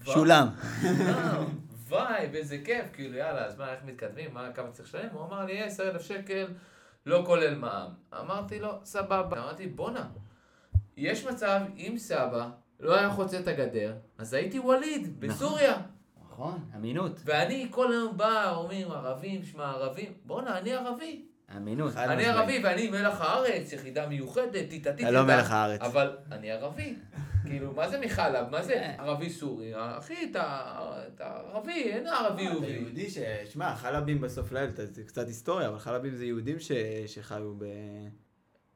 Speaker 1: "וואו."
Speaker 4: שולם.
Speaker 5: נכון,
Speaker 1: אה, וואי, ואיזה כיף, כאילו, יאללה, אז מה, איך מתקדמים, מה, כמה צריך לשלם? הוא אמר לי, 10,000 שקל, לא כולל מע"מ. אמרתי לו, סבבה. אמרתי, בואנה, יש מצב, אם סבא לא היה חוצה את הגדר, אז הייתי ווליד, בסוריה.
Speaker 5: נכון, אמינות,
Speaker 1: ואני כל היום בא, אומרים, ערבים, שמע, ערבים. בואנה, אני ערבי.
Speaker 5: אמינות.
Speaker 1: אני ערבי ואני מלח הארץ, יחידה מיוחדת, טיטטית.
Speaker 4: אתה לא
Speaker 1: טיטה.
Speaker 4: מלח הארץ.
Speaker 1: אבל אני ערבי. כאילו, מה זה מחלב? מה זה
Speaker 5: כן.
Speaker 1: ערבי סורי? אחי, אתה אתה ערבי, אין ערבי
Speaker 7: אה, אתה
Speaker 1: יהודי.
Speaker 7: יהודי ש...
Speaker 4: שמע, חלבים בסוף ליל, אתה- זה קצת היסטוריה, אבל חלבים זה יהודים ש- שחיו ב-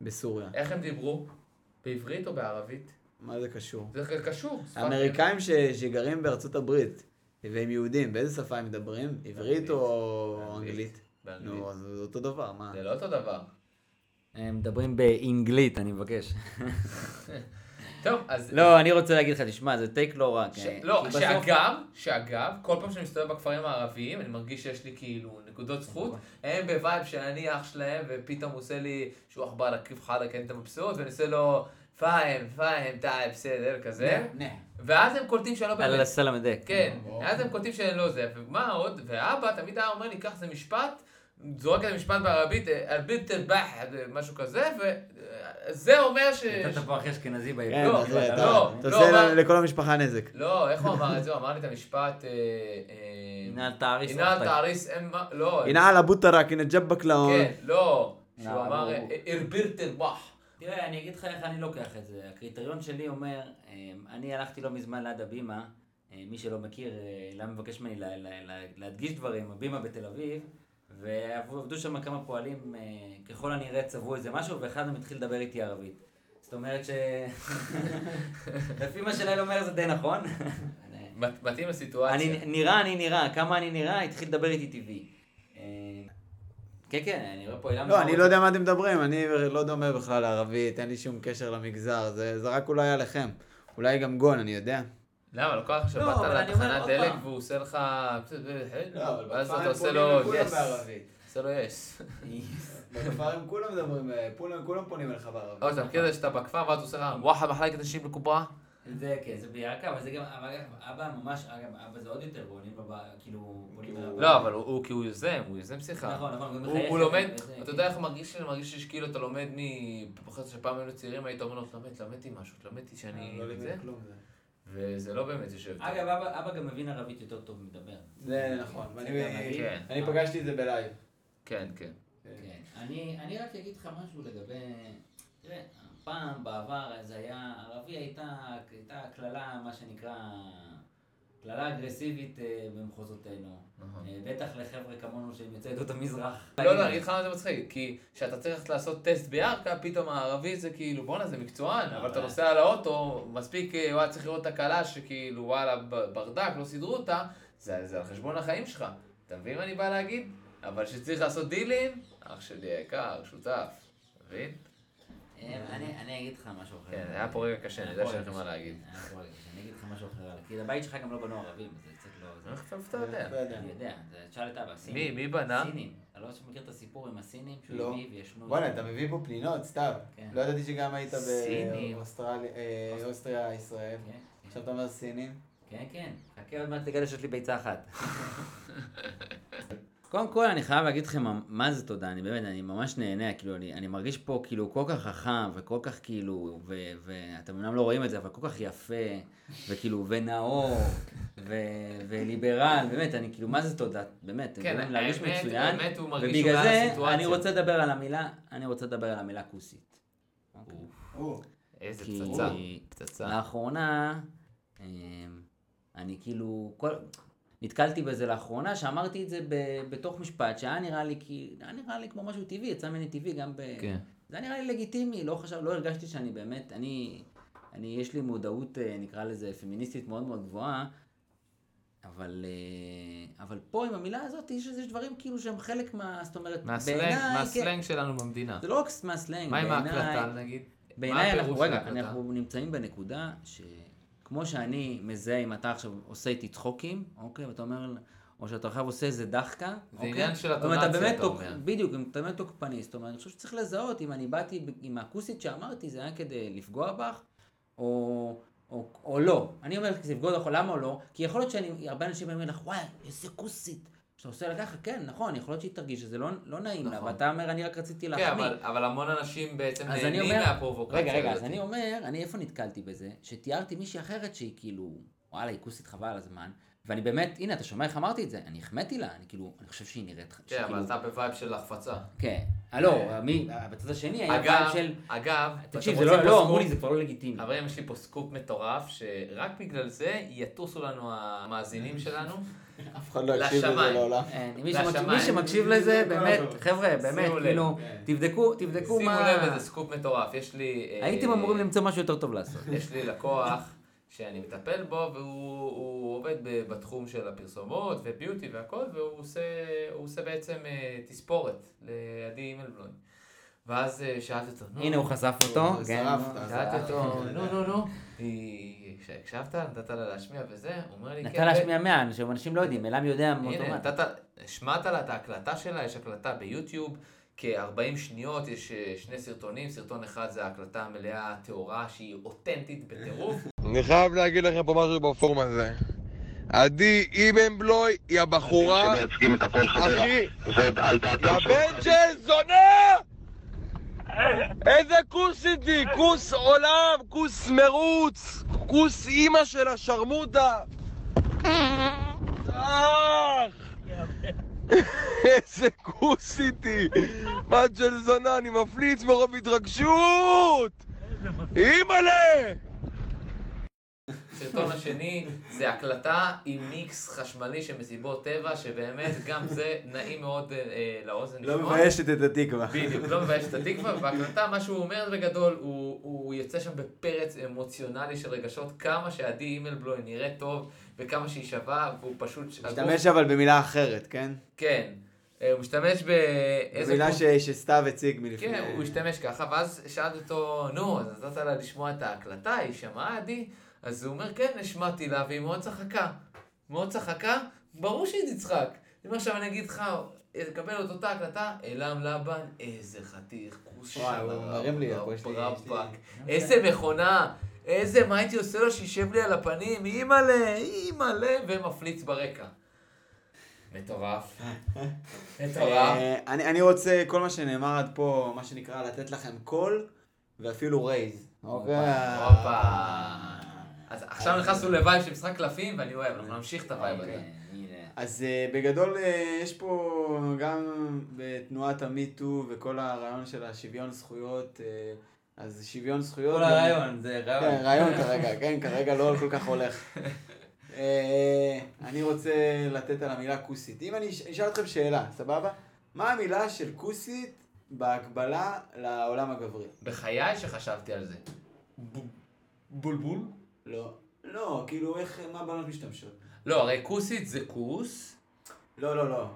Speaker 4: בסוריה.
Speaker 1: איך הם דיברו? בעברית או בערבית?
Speaker 4: מה זה קשור?
Speaker 1: זה קשור. שפת אם.
Speaker 4: האמריקאים ש- שגרים בארצות הברית, והם יהודים, באיזה שפה הם מדברים? עברית או אנגלית?
Speaker 1: באנגלית.
Speaker 4: נו, אז זה אותו דבר, מה?
Speaker 1: זה לא אותו דבר.
Speaker 5: הם מדברים באנגלית, אני מבקש.
Speaker 1: טוב, אז...
Speaker 5: לא, אני רוצה להגיד לך, תשמע, זה טייק לא רע.
Speaker 1: ש...
Speaker 5: כי-
Speaker 1: לא,
Speaker 5: כי בסוף-
Speaker 1: שאגב, שאגב, כל פעם שאני מסתובב בכפרים הערביים, אני מרגיש שיש לי כאילו נקודות
Speaker 5: נכון.
Speaker 1: זכות, הם בווייב שאני אח שלהם, ופתאום הוא עושה לי שהוא עכבר עקיף חלק, אין את המבסוט, ואני עושה לו פאהם, פאהם, טאי, בסדר, כזה,
Speaker 5: כן.
Speaker 7: נה.
Speaker 1: ואז הם קולטים שאני לא
Speaker 5: אללה
Speaker 1: באמת.
Speaker 5: סלאם דק.
Speaker 1: כן,
Speaker 5: נכון.
Speaker 1: אז הם קולטים שאני לא זה, ומה עוד, ואבא תמיד היה אומר לי, קח איזה משפט, זורק איזה משפט בערבית, אלביב תלבח, משהו כזה, וזה אומר ש...
Speaker 5: אתה פה הכי אשכנזי
Speaker 4: כן,
Speaker 5: בעברית.
Speaker 1: לא,
Speaker 4: אז אתה-
Speaker 1: לא,
Speaker 4: אתה
Speaker 1: לא,
Speaker 4: עושה
Speaker 1: אבל-
Speaker 4: לכל המשפחה נזק.
Speaker 1: לא, איך הוא אמר את זה? הוא אמר לי את המשפט... אה, אה,
Speaker 5: הנה תעריס.
Speaker 1: אינאל תעריס אמה... לא.
Speaker 4: הנה על אבו טראק, הנה ג'בק לאון.
Speaker 1: כן, לא. שהוא
Speaker 5: לא,
Speaker 1: אמר "אה,
Speaker 5: הוא-
Speaker 1: ארבירט אלבח.
Speaker 5: תראה, אני אגיד לך איך אני לוקח את זה. הקריטריון שלי אומר, אמ, אני הלכתי לא מזמן ליד הבימה, אמ, מי שלא מכיר, אה, למה מבקש ממני לה- לה- לה- להדגיש דברים, הבימה בתל אביב, ועבדו שם כמה פועלים, אה, ככל הנראה צבעו איזה משהו, ואחד מהם התחיל לדבר איתי ערבית. זאת אומרת ש... לפי מה שלאל אומר זה די נכון.
Speaker 1: מת- מתאים לסיטואציה.
Speaker 5: אני נראה, אני נראה, כמה אני נראה, התחיל לדבר איתי טבעי. אה, כן, כן, אני רואה פה אילן...
Speaker 4: לא, אני לא יודע מה אתם מדברים, אני לא דומה בכלל לערבית, אין לי שום קשר למגזר, זה זה רק אולי עליכם. אולי גם גון, אני יודע.
Speaker 1: למה? לוקח עכשיו
Speaker 5: לא,
Speaker 1: באת
Speaker 5: אבל אני אומר
Speaker 1: לתחנת
Speaker 5: עוד
Speaker 1: דלק
Speaker 5: פעם.
Speaker 1: והוא עושה לך...
Speaker 7: לא, אבל
Speaker 1: ואז
Speaker 7: בכפר
Speaker 1: אתה
Speaker 7: הם
Speaker 1: עושה
Speaker 7: פונים לכולם
Speaker 1: לו יס.
Speaker 7: בערבית.
Speaker 1: עושה לו יס.
Speaker 7: בכפר הם כולם מדברים, אה, פולם- כולם פונים אליך בערבית.
Speaker 1: או, אתה מכיר את זה שאתה בכפר ואז הוא עושה לך וואחה מחלקת נשים לקובה?
Speaker 5: זה כן, זה בירקה, אבל זה גם, אבל אגב, אבא ממש, אגב, אבא זה עוד יותר, בונים בבא, כאילו, בונים עליו.
Speaker 1: לא, אבל הוא- הוא כי הוא יוזם, הוא יוזם שיחה.
Speaker 5: נכון, נכון, הוא גם
Speaker 1: הוא-
Speaker 5: מחייך,
Speaker 1: הוא לומד,
Speaker 5: וזה,
Speaker 1: אתה
Speaker 5: כן.
Speaker 1: יודע איך מרגיש לי? מרגיש לי שכאילו אתה לומד מ... בחצי שפעם היינו צעירים, היית אומר לו, תלמד, תלמדתי משהו, תלמדתי
Speaker 7: אני
Speaker 1: שאני...
Speaker 7: לא
Speaker 1: זה." אה,
Speaker 7: לימד כלום זה.
Speaker 1: וזה לא באמת יושב. טוב.
Speaker 5: אגב, אבא, אבא גם מבין ערבית יותר טוב מדבר.
Speaker 7: זה נכון,
Speaker 5: זה
Speaker 7: ואני-
Speaker 5: גם מדהים.
Speaker 1: כן.
Speaker 7: אני פגשתי את זה בלייב.
Speaker 1: כן, כן.
Speaker 5: כן. אני, אני רק אגיד לך משהו לגבי... תראה, פעם, בעבר, זה היה... ערבי הייתה, הייתה קללה, מה שנקרא, קללה אגרסיבית אה, במחוזותינו.
Speaker 1: נכון.
Speaker 5: אה, בטח לחבר'ה כמונו שהם יוצאי עדות המזרח.
Speaker 1: לא, לא, אני אגיד לך למה זה מצחיק, כי כשאתה צריך ללכת לעשות טסט בירכא, פתאום הערבי זה כאילו, בואנה, זה מקצוען, אבל אתה נוסע על האוטו, מספיק, אה, וואלה, צריך לראות תקלה שכאילו, וואלה, ב- ברדק, לא סידרו אותה, זה זה על חשבון החיים שלך. אתה מבין מה אני בא להגיד? אבל כשצריך לעשות דילים, אח שלי היקר, שותף, אתה מבין?
Speaker 5: אה, אני אני אגיד לך משהו אחר.
Speaker 1: כן, היה פה רגע קשה, אני יודע
Speaker 5: היה פה
Speaker 1: שאין לכם
Speaker 5: רגע
Speaker 1: מה
Speaker 5: קשה.
Speaker 1: להגיד.
Speaker 5: היה פה רגע קשה, אני אה, נכון, אגיד לך משהו אחר. כי הבית שלך גם לא בנו ערבים, אז זה קצת לא... זה-
Speaker 1: איך אתה יודע?
Speaker 5: אני יודע, זה- תשאל את אבא, סינים.
Speaker 1: מי, מי בנה?
Speaker 5: סינים. אתה לא מכיר את הסיפור עם הסינים? שהוא
Speaker 7: לא.
Speaker 5: הביא וישנו...
Speaker 7: וואלה, אתה מביא פה פנינות, סתיו.
Speaker 5: כן.
Speaker 7: לא ידעתי שגם היית
Speaker 1: סינים.
Speaker 7: באוסטרליה, אה, אוסטריה, ישראל.
Speaker 5: כן,
Speaker 7: עכשיו אתה אומר סינים.
Speaker 5: כן, כן. חכה עוד מעט תגלה שיש לי ביצה אחת. קודם כל, אני חייב להגיד לכם מה זה תודה, אני באמת, אני ממש נהנה, כאילו, אני, אני מרגיש פה כאילו כל כך חכם, וכל כך כאילו, ו, ואתם אמנם לא רואים את זה, אבל כל כך יפה, וכאילו, ונאור, ו, וליברל, באמת, אני כאילו, מה זה תודה, באמת, אתם
Speaker 1: כן,
Speaker 5: יכולים להרגיש
Speaker 1: האמת-
Speaker 5: מצוין,
Speaker 1: האמת הוא מרגיש שהוא
Speaker 5: ובגלל
Speaker 1: מעל
Speaker 5: זה,
Speaker 1: הסיטואציה.
Speaker 5: אני רוצה לדבר על המילה, אני רוצה לדבר על המילה כוסית.
Speaker 7: או,
Speaker 1: איזה
Speaker 5: כי-
Speaker 1: פצצה. פצצה.
Speaker 5: לאחרונה, אמ, אני כאילו, כל... נתקלתי בזה לאחרונה, שאמרתי את זה ב... בתוך משפט, שהיה נראה לי כי... היה נראה לי כמו משהו טבעי, יצא ממני טבעי גם ב...
Speaker 1: כן.
Speaker 5: זה היה נראה לי לגיטימי, לא חשב, לא הרגשתי שאני באמת, אני, אני, יש לי מודעות, אה, נקרא לזה, פמיניסטית מאוד מאוד גבוהה, אבל, אה, אבל פה עם המילה הזאת, יש, יש דברים כאילו שהם חלק מה... זאת אומרת,
Speaker 1: מהסלנג,
Speaker 5: בעיניי, כן,
Speaker 1: מהסלנג שלנו במדינה.
Speaker 5: זה לא רק מהסלנג,
Speaker 1: מה עם
Speaker 5: בעיניי-
Speaker 1: ההקלטה, נגיד?
Speaker 5: בעיניי אנחנו,
Speaker 1: הפירוש של
Speaker 5: רגע,
Speaker 1: ההקלטה?
Speaker 5: אנחנו נמצאים בנקודה שכמו שאני מזהה אם אתה עכשיו עושה איתי צחוקים, אוקיי, ואתה אומר, או שאתה עכשיו עושה איזה דחקה, אוקיי?
Speaker 1: עניין של
Speaker 5: זאת אומרת, אתה
Speaker 1: הטונציה,
Speaker 5: באמת
Speaker 1: אתה
Speaker 5: תוק-
Speaker 1: אומר.
Speaker 5: בדיוק, אם אתה באמת תוקפני, זאת אומרת, אני חושב שצריך לזהות אם אני באתי ב- עם האקוסית שאמרתי, זה היה כדי לפגוע בך, או... או, או לא, אני אומר לך, זה יפגוד לך, למה או לא? כי יכול להיות שאני, הרבה אנשים אומרים לך, וואי, איזה כוסית. כשאתה עושה לה ככה, כן, נכון, יכול להיות שהיא תרגיש שזה לא, לא נעים לה,
Speaker 1: נכון.
Speaker 5: ואתה אומר, אני רק רציתי להחמיא.
Speaker 1: כן, אבל, אבל המון אנשים בעצם
Speaker 5: אז אני
Speaker 1: נהנים
Speaker 5: אומר,
Speaker 1: מהפרובוקציה
Speaker 5: רגע, רגע, אז
Speaker 1: הזאת.
Speaker 5: אני אומר, אני איפה נתקלתי בזה? שתיארתי מישהי אחרת שהיא כאילו, וואלה, היא כוסית חבל על הזמן, ואני באמת, הנה, אתה שומע איך אמרתי את זה? אני החמאתי לה, אני כאילו, אני חושב שהיא נראית...
Speaker 1: כן,
Speaker 5: שכאילו-
Speaker 1: אבל אתה בווייב של החפצה.
Speaker 5: כן. אה, לא, מי, בצד השני היה
Speaker 1: אגב,
Speaker 5: פעם כן, של...
Speaker 1: אגב,
Speaker 5: תקשיב,
Speaker 1: אתם
Speaker 5: זה לא,
Speaker 1: רוצים
Speaker 5: לא,
Speaker 1: פה
Speaker 5: אמרו לי,
Speaker 1: סקופ?
Speaker 5: זה כבר לא לגיטימי.
Speaker 1: חברים, יש לי פה סקופ מטורף, שרק בגלל זה יטוסו לנו המאזינים שלנו.
Speaker 7: אף אחד לא יקשיב לזה
Speaker 1: לשמיים.
Speaker 7: לעולם.
Speaker 5: אין, מי שמק-
Speaker 1: לשמיים.
Speaker 5: מי שמקשיב לזה, באמת, חבר'ה, באמת,
Speaker 1: לב.
Speaker 5: כאילו, תבדקו, תבדקו
Speaker 1: שימו
Speaker 5: מה...
Speaker 1: לב איזה סקופ מטורף, יש לי... אה,
Speaker 5: הייתם אמורים למצוא משהו יותר טוב לעשות.
Speaker 1: יש לי לקוח שאני מטפל בו, והוא הוא עובד ב- בתחום של הפרסומות וביוטי והכל, והוא עושה, הוא עושה בעצם אה, תספורת לעדי אימלבלוים. ואז אה, שאלתי אותו, נו,
Speaker 2: הנה הוא חשף
Speaker 1: לא,
Speaker 4: לא,
Speaker 2: אותו.
Speaker 7: הוא
Speaker 2: כן.
Speaker 7: שרף אותה.
Speaker 1: שאלתי אותו,
Speaker 7: אה,
Speaker 1: נו, נו, נו, היא- הקשבת? נתת לה להשמיע וזה? הוא אומר לי,
Speaker 2: נתן
Speaker 1: "כן,
Speaker 2: להשמיע מאה אנשים, אנשים לא יודעים, אלעם יודע
Speaker 5: כן.
Speaker 1: הנה,
Speaker 2: מאוטומט.
Speaker 1: נתת, השמעת לה את ההקלטה שלה, יש הקלטה ביוטיוב, כ-40 שניות, יש אה, שני סרטונים, סרטון אחד זה ההקלטה המלאה, הטהורה, שהיא אותנטית בטירוף,
Speaker 8: אני חייב להגיד לכם פה משהו בפורום הזה. עדי איבנבלוי היא הבחורה...
Speaker 9: שמייצגים את הפועל חדרה.
Speaker 8: אחי,
Speaker 9: ועל דעתם של...
Speaker 8: הבן של זונה! איזה כוס איתי? כוס עולם, כוס מרוץ, כוס אימא של השרמוטה. אה! אח! איזה כוס איתי! בת של זונה, אני מפליץ מרוב התרגשות! אימא'לה!
Speaker 1: הסרטון השני זה הקלטה עם מיקס חשמלי של מסיבות טבע, שבאמת גם זה נעים מאוד אה, אה, לאוזן
Speaker 4: לא מביישת את התקווה.
Speaker 1: בדיוק, לא מבייש את התקווה, וההקלטה, מה שהוא אומר בגדול, הוא, הוא יוצא שם בפרץ אמוציונלי של רגשות, כמה שעדי אימלבלוי נראית טוב, וכמה שהיא שווה, והוא פשוט...
Speaker 4: משתמש אבל במילה אחרת, כן?
Speaker 1: כן. אה, הוא משתמש באיזה...
Speaker 4: במילה
Speaker 1: קוד-
Speaker 4: ש- שסתיו הציג מלפני.
Speaker 1: כן, הוא השתמש ככה, ואז שאלתי אותו, נו, אז נתת לה לשמוע את ההקלטה, היא שמעה עדי? אז הוא אומר, כן, השמעתי לה, והיא מאוד צחקה. מאוד צחקה? ברור שהיא תצחק. אני אומר, עכשיו אני אגיד לך, תקבל את אותה הקלטה, אלעם לבן, איזה חתיך, כוס
Speaker 4: וואי, הוא מרים לי, הפה
Speaker 1: רבק,
Speaker 4: שלי,
Speaker 1: איזה מכונה, איזה, מה הייתי עושה לו שישב לי על הפנים, אימא'לה, אימא'לה, ומפליץ ברקע. מטורף. מטורף.
Speaker 4: אה, אני אני רוצה, כל מה שנאמר עד פה, מה שנקרא, לתת לכם קול ואפילו רייז. אוקיי.
Speaker 1: הופה. אז עכשיו נכנסנו לווייב של משחק קלפים, ואני אוהב, אנחנו נמשיך את הווייב לא
Speaker 4: אוקיי.
Speaker 1: הזה.
Speaker 5: כן,
Speaker 4: אז אה, בגדול אה, יש פה גם בתנועת המיטו וכל הרעיון של השוויון זכויות, אה, אז שוויון זכויות...
Speaker 3: כל
Speaker 4: גם-
Speaker 3: הרעיון, זה
Speaker 4: כן,
Speaker 3: רעיון.
Speaker 4: רעיון כרגע, כן, כרגע לא כל כך הולך. אה, אני רוצה לתת על המילה כוסית. אם אני אש- אשאל אתכם שאלה, סבבה? מה המילה של כוסית בהקבלה לעולם הגברי?
Speaker 1: בחיי שחשבתי על זה. בולבול?
Speaker 4: לא. לא, כאילו איך, מה בנות משתמשות?
Speaker 1: לא, הרי כוסית זה כוס.
Speaker 4: לא, לא, לא.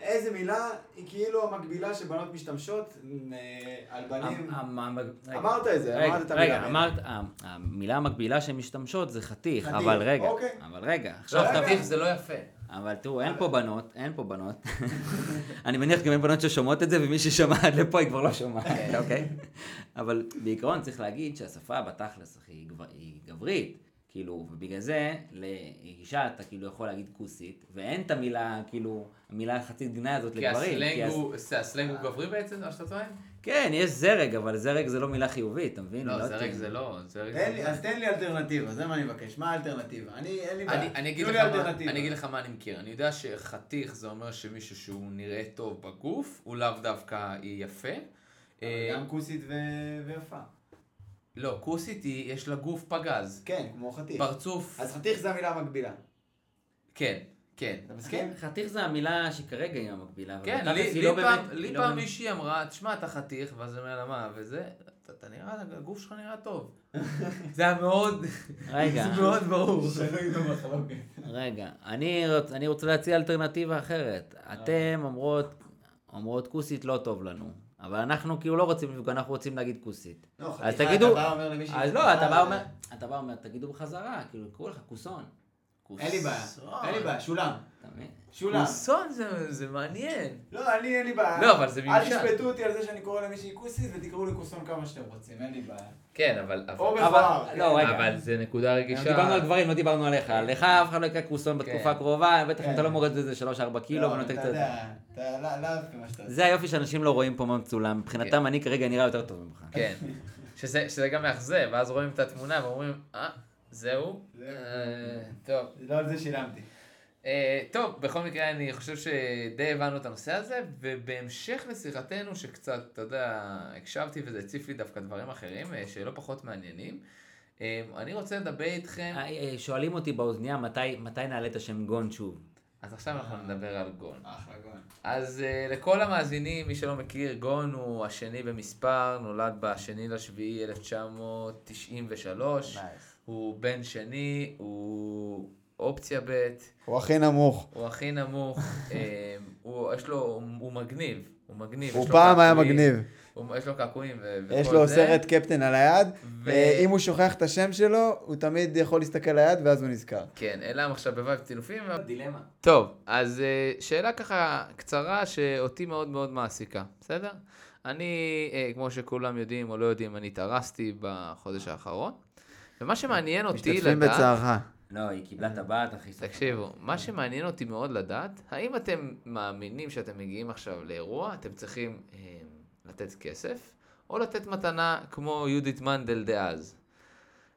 Speaker 4: איזה מילה היא כאילו המקבילה שבנות משתמשות אה, על בנים.
Speaker 5: המ- המ- רגע.
Speaker 4: אמרת את זה,
Speaker 5: רגע,
Speaker 4: אמרת את המילה.
Speaker 5: רגע, אמרת, ה- המילה המקבילה שהן משתמשות זה חתיך,
Speaker 4: חתיך,
Speaker 5: אבל רגע,
Speaker 4: אוקיי.
Speaker 5: אבל רגע,
Speaker 1: לא,
Speaker 5: עכשיו
Speaker 1: חתיך
Speaker 5: תבין,
Speaker 1: זה לא יפה.
Speaker 5: אבל תראו, אין פה בנות, אין פה בנות, אני מניח גם אין בנות ששומעות את זה, ומי ששמע עד לפה היא כבר לא שומעת, אוקיי? אבל בעיקרון צריך להגיד שהשפה בתכלס היא גב- היא גברית, כאילו, ובגלל זה לאישה אתה כאילו יכול להגיד כוסית, ואין את המילה, כאילו, המילה החצית גנאי הזאת
Speaker 1: כי
Speaker 5: לגברים,
Speaker 1: הסלנג
Speaker 5: הס-
Speaker 1: הוא- זה הסלנג הוא גברי בעצם, מה שאתה טוען?
Speaker 5: כן, יש זרג, אבל זרג זה לא מילה חיובית, אתה מבין?
Speaker 1: לא, זה
Speaker 5: יודעת,
Speaker 1: רגע זה לא. זה רגע
Speaker 4: תן
Speaker 1: זה
Speaker 4: לי-
Speaker 1: לא.
Speaker 4: אז תן לי אלטרנטיבה, זה מה אני מבקש. מה האלטרנטיבה? אני, אין לי בעיה.
Speaker 1: אני אני אגיד
Speaker 4: תנו
Speaker 1: לך
Speaker 4: לי
Speaker 1: מה-
Speaker 4: אלטרנטיבה.
Speaker 1: אני אגיד לך מה אני מכיר. אני יודע שחתיך זה אומר שמישהו שהוא נראה טוב בגוף, הוא לאו דווקא יפה. אה,
Speaker 4: גם כוסית ו- ויפה.
Speaker 1: לא, כוסית היא, יש לה גוף פגז.
Speaker 4: כן, כמו חתיך.
Speaker 1: פרצוף,
Speaker 4: אז חתיך זה המילה המקבילה.
Speaker 1: כן, כן.
Speaker 4: אתה
Speaker 5: כן,
Speaker 4: מסכים?
Speaker 5: חתיך זה המילה שכרגע היא המקבילה. אבל
Speaker 1: כן,
Speaker 5: בתכלס
Speaker 1: לי,
Speaker 5: היא
Speaker 1: לי,
Speaker 5: לא
Speaker 1: פעם,
Speaker 5: באמת-
Speaker 1: לי
Speaker 5: היא לא
Speaker 1: פעם
Speaker 5: באמת-
Speaker 1: מישהי אמרה, תשמע, אתה חתיך, ואז אני אומר לה, מה, וזה, אתה, אתה נראה, הגוף שלך נראה טוב. זה היה מאוד,
Speaker 5: רגע,
Speaker 1: זה מאוד ברור.
Speaker 5: רגע. אני רוצ- אני רוצה להציע אלטרנטיבה אחרת. אתם אומרות, אומרות כוסית לא טוב לנו. אבל אנחנו כאילו לא רוצים לפגוע, אנחנו רוצים להגיד כוסית.
Speaker 4: לא,
Speaker 5: אז
Speaker 4: חתיכה,
Speaker 5: תגידו...
Speaker 4: אתה בא ואומר למישהי,
Speaker 5: אז לא, אתה בא אומר, אתה בא אומר, תגידו בחזרה, כאילו, קראו לך כוסון.
Speaker 4: אין לי בעיה. אין לי בעיה, שולם.
Speaker 5: אתה מבין?
Speaker 4: שולם.
Speaker 1: כוסון זה, זה מעניין.
Speaker 4: לא, אני אין לי בעיה.
Speaker 1: לא, אבל זה ממשל.
Speaker 4: אל תשפטו אותי על זה שאני קורא למישהי כוסית ותקראו לי כוסון כמה שאתם רוצים, אין לי בעיה.
Speaker 1: כן, אבל...
Speaker 4: או
Speaker 1: אבל,
Speaker 4: בכלל.
Speaker 5: אבל, לא, רגע.
Speaker 1: אבל זה נקודה רגישה.
Speaker 5: דיברנו על גברים, לא דיברנו עליך. לך אף אחד לא יקרא כוסון בתקופה הקרובה, בטח אם אתה לא מורד איזה 3-4
Speaker 1: לא
Speaker 5: קילו, אבל נותן
Speaker 4: כן. לא, אתה
Speaker 5: קצת...
Speaker 4: יודע, אתה לא- לא אהבתי מה שאתה עושה.
Speaker 5: זה היופי שאנשים לא רואים פה מה מצולם,
Speaker 4: כן.
Speaker 5: מבחינתם אני כרגע נראה יותר טוב ממך.
Speaker 1: כן. שזה, שזה גם מאכזב, ואז רואים את התמונה ואומרים, אה, זהו.
Speaker 4: זהו.
Speaker 1: אה, טוב.
Speaker 4: לא על זה שילמתי.
Speaker 1: אה, טוב, בכל מקרה אני חושב שדי הבנו את הנושא הזה, ובהמשך לשיחתנו שקצת, אתה יודע, הקשבתי וזה הציף לי דווקא דברים אחרים אה, שלא פחות מעניינים. אה, אני רוצה לדבר איתכם,
Speaker 5: אה, אה, שואלים אותי באוזנייה מתי, מתי נעלה את השם גון שוב.
Speaker 1: אז עכשיו אנחנו נדבר על גון.
Speaker 4: אחלה גול.
Speaker 1: אז אה, לכל המאזינים, מי שלא מכיר, גון הוא השני במספר, נולד בשני לשביעי 1993. הוא בן שני, הוא אופציה ב',
Speaker 4: הוא הכי נמוך.
Speaker 1: הוא הכי נמוך, אה, הוא, יש לו, הוא, הוא מגניב, הוא מגניב.
Speaker 4: הוא
Speaker 1: יש לו
Speaker 4: פעם היה
Speaker 1: קעקועים,
Speaker 4: מגניב.
Speaker 1: הוא, יש לו קעקועים ו- וכל
Speaker 4: יש לו
Speaker 1: זה.
Speaker 4: סרט קפטן על היד,
Speaker 1: ו-
Speaker 4: ואם הוא שוכח את השם שלו, הוא תמיד יכול להסתכל על היד ואז הוא נזכר.
Speaker 1: כן, אלה הם עכשיו בוואב טינופים. ו-
Speaker 3: דילמה.
Speaker 1: טוב, אז אה, שאלה ככה קצרה שאותי מאוד מאוד מעסיקה, בסדר? אני, אה, כמו שכולם יודעים או לא יודעים, אני התארסתי בחודש האחרון, ומה שמעניין אותי
Speaker 4: משתתפים
Speaker 1: לדעת...
Speaker 4: בצערך.
Speaker 5: לא, היא קיבלה טבעת, אחי. סליחה.
Speaker 1: תקשיבו,
Speaker 5: כן.
Speaker 1: מה שמעניין אותי מאוד לדעת, האם אתם מאמינים שאתם מגיעים עכשיו לאירוע, אתם צריכים אה, לתת כסף, או לתת מתנה כמו יהודית מנדל דאז?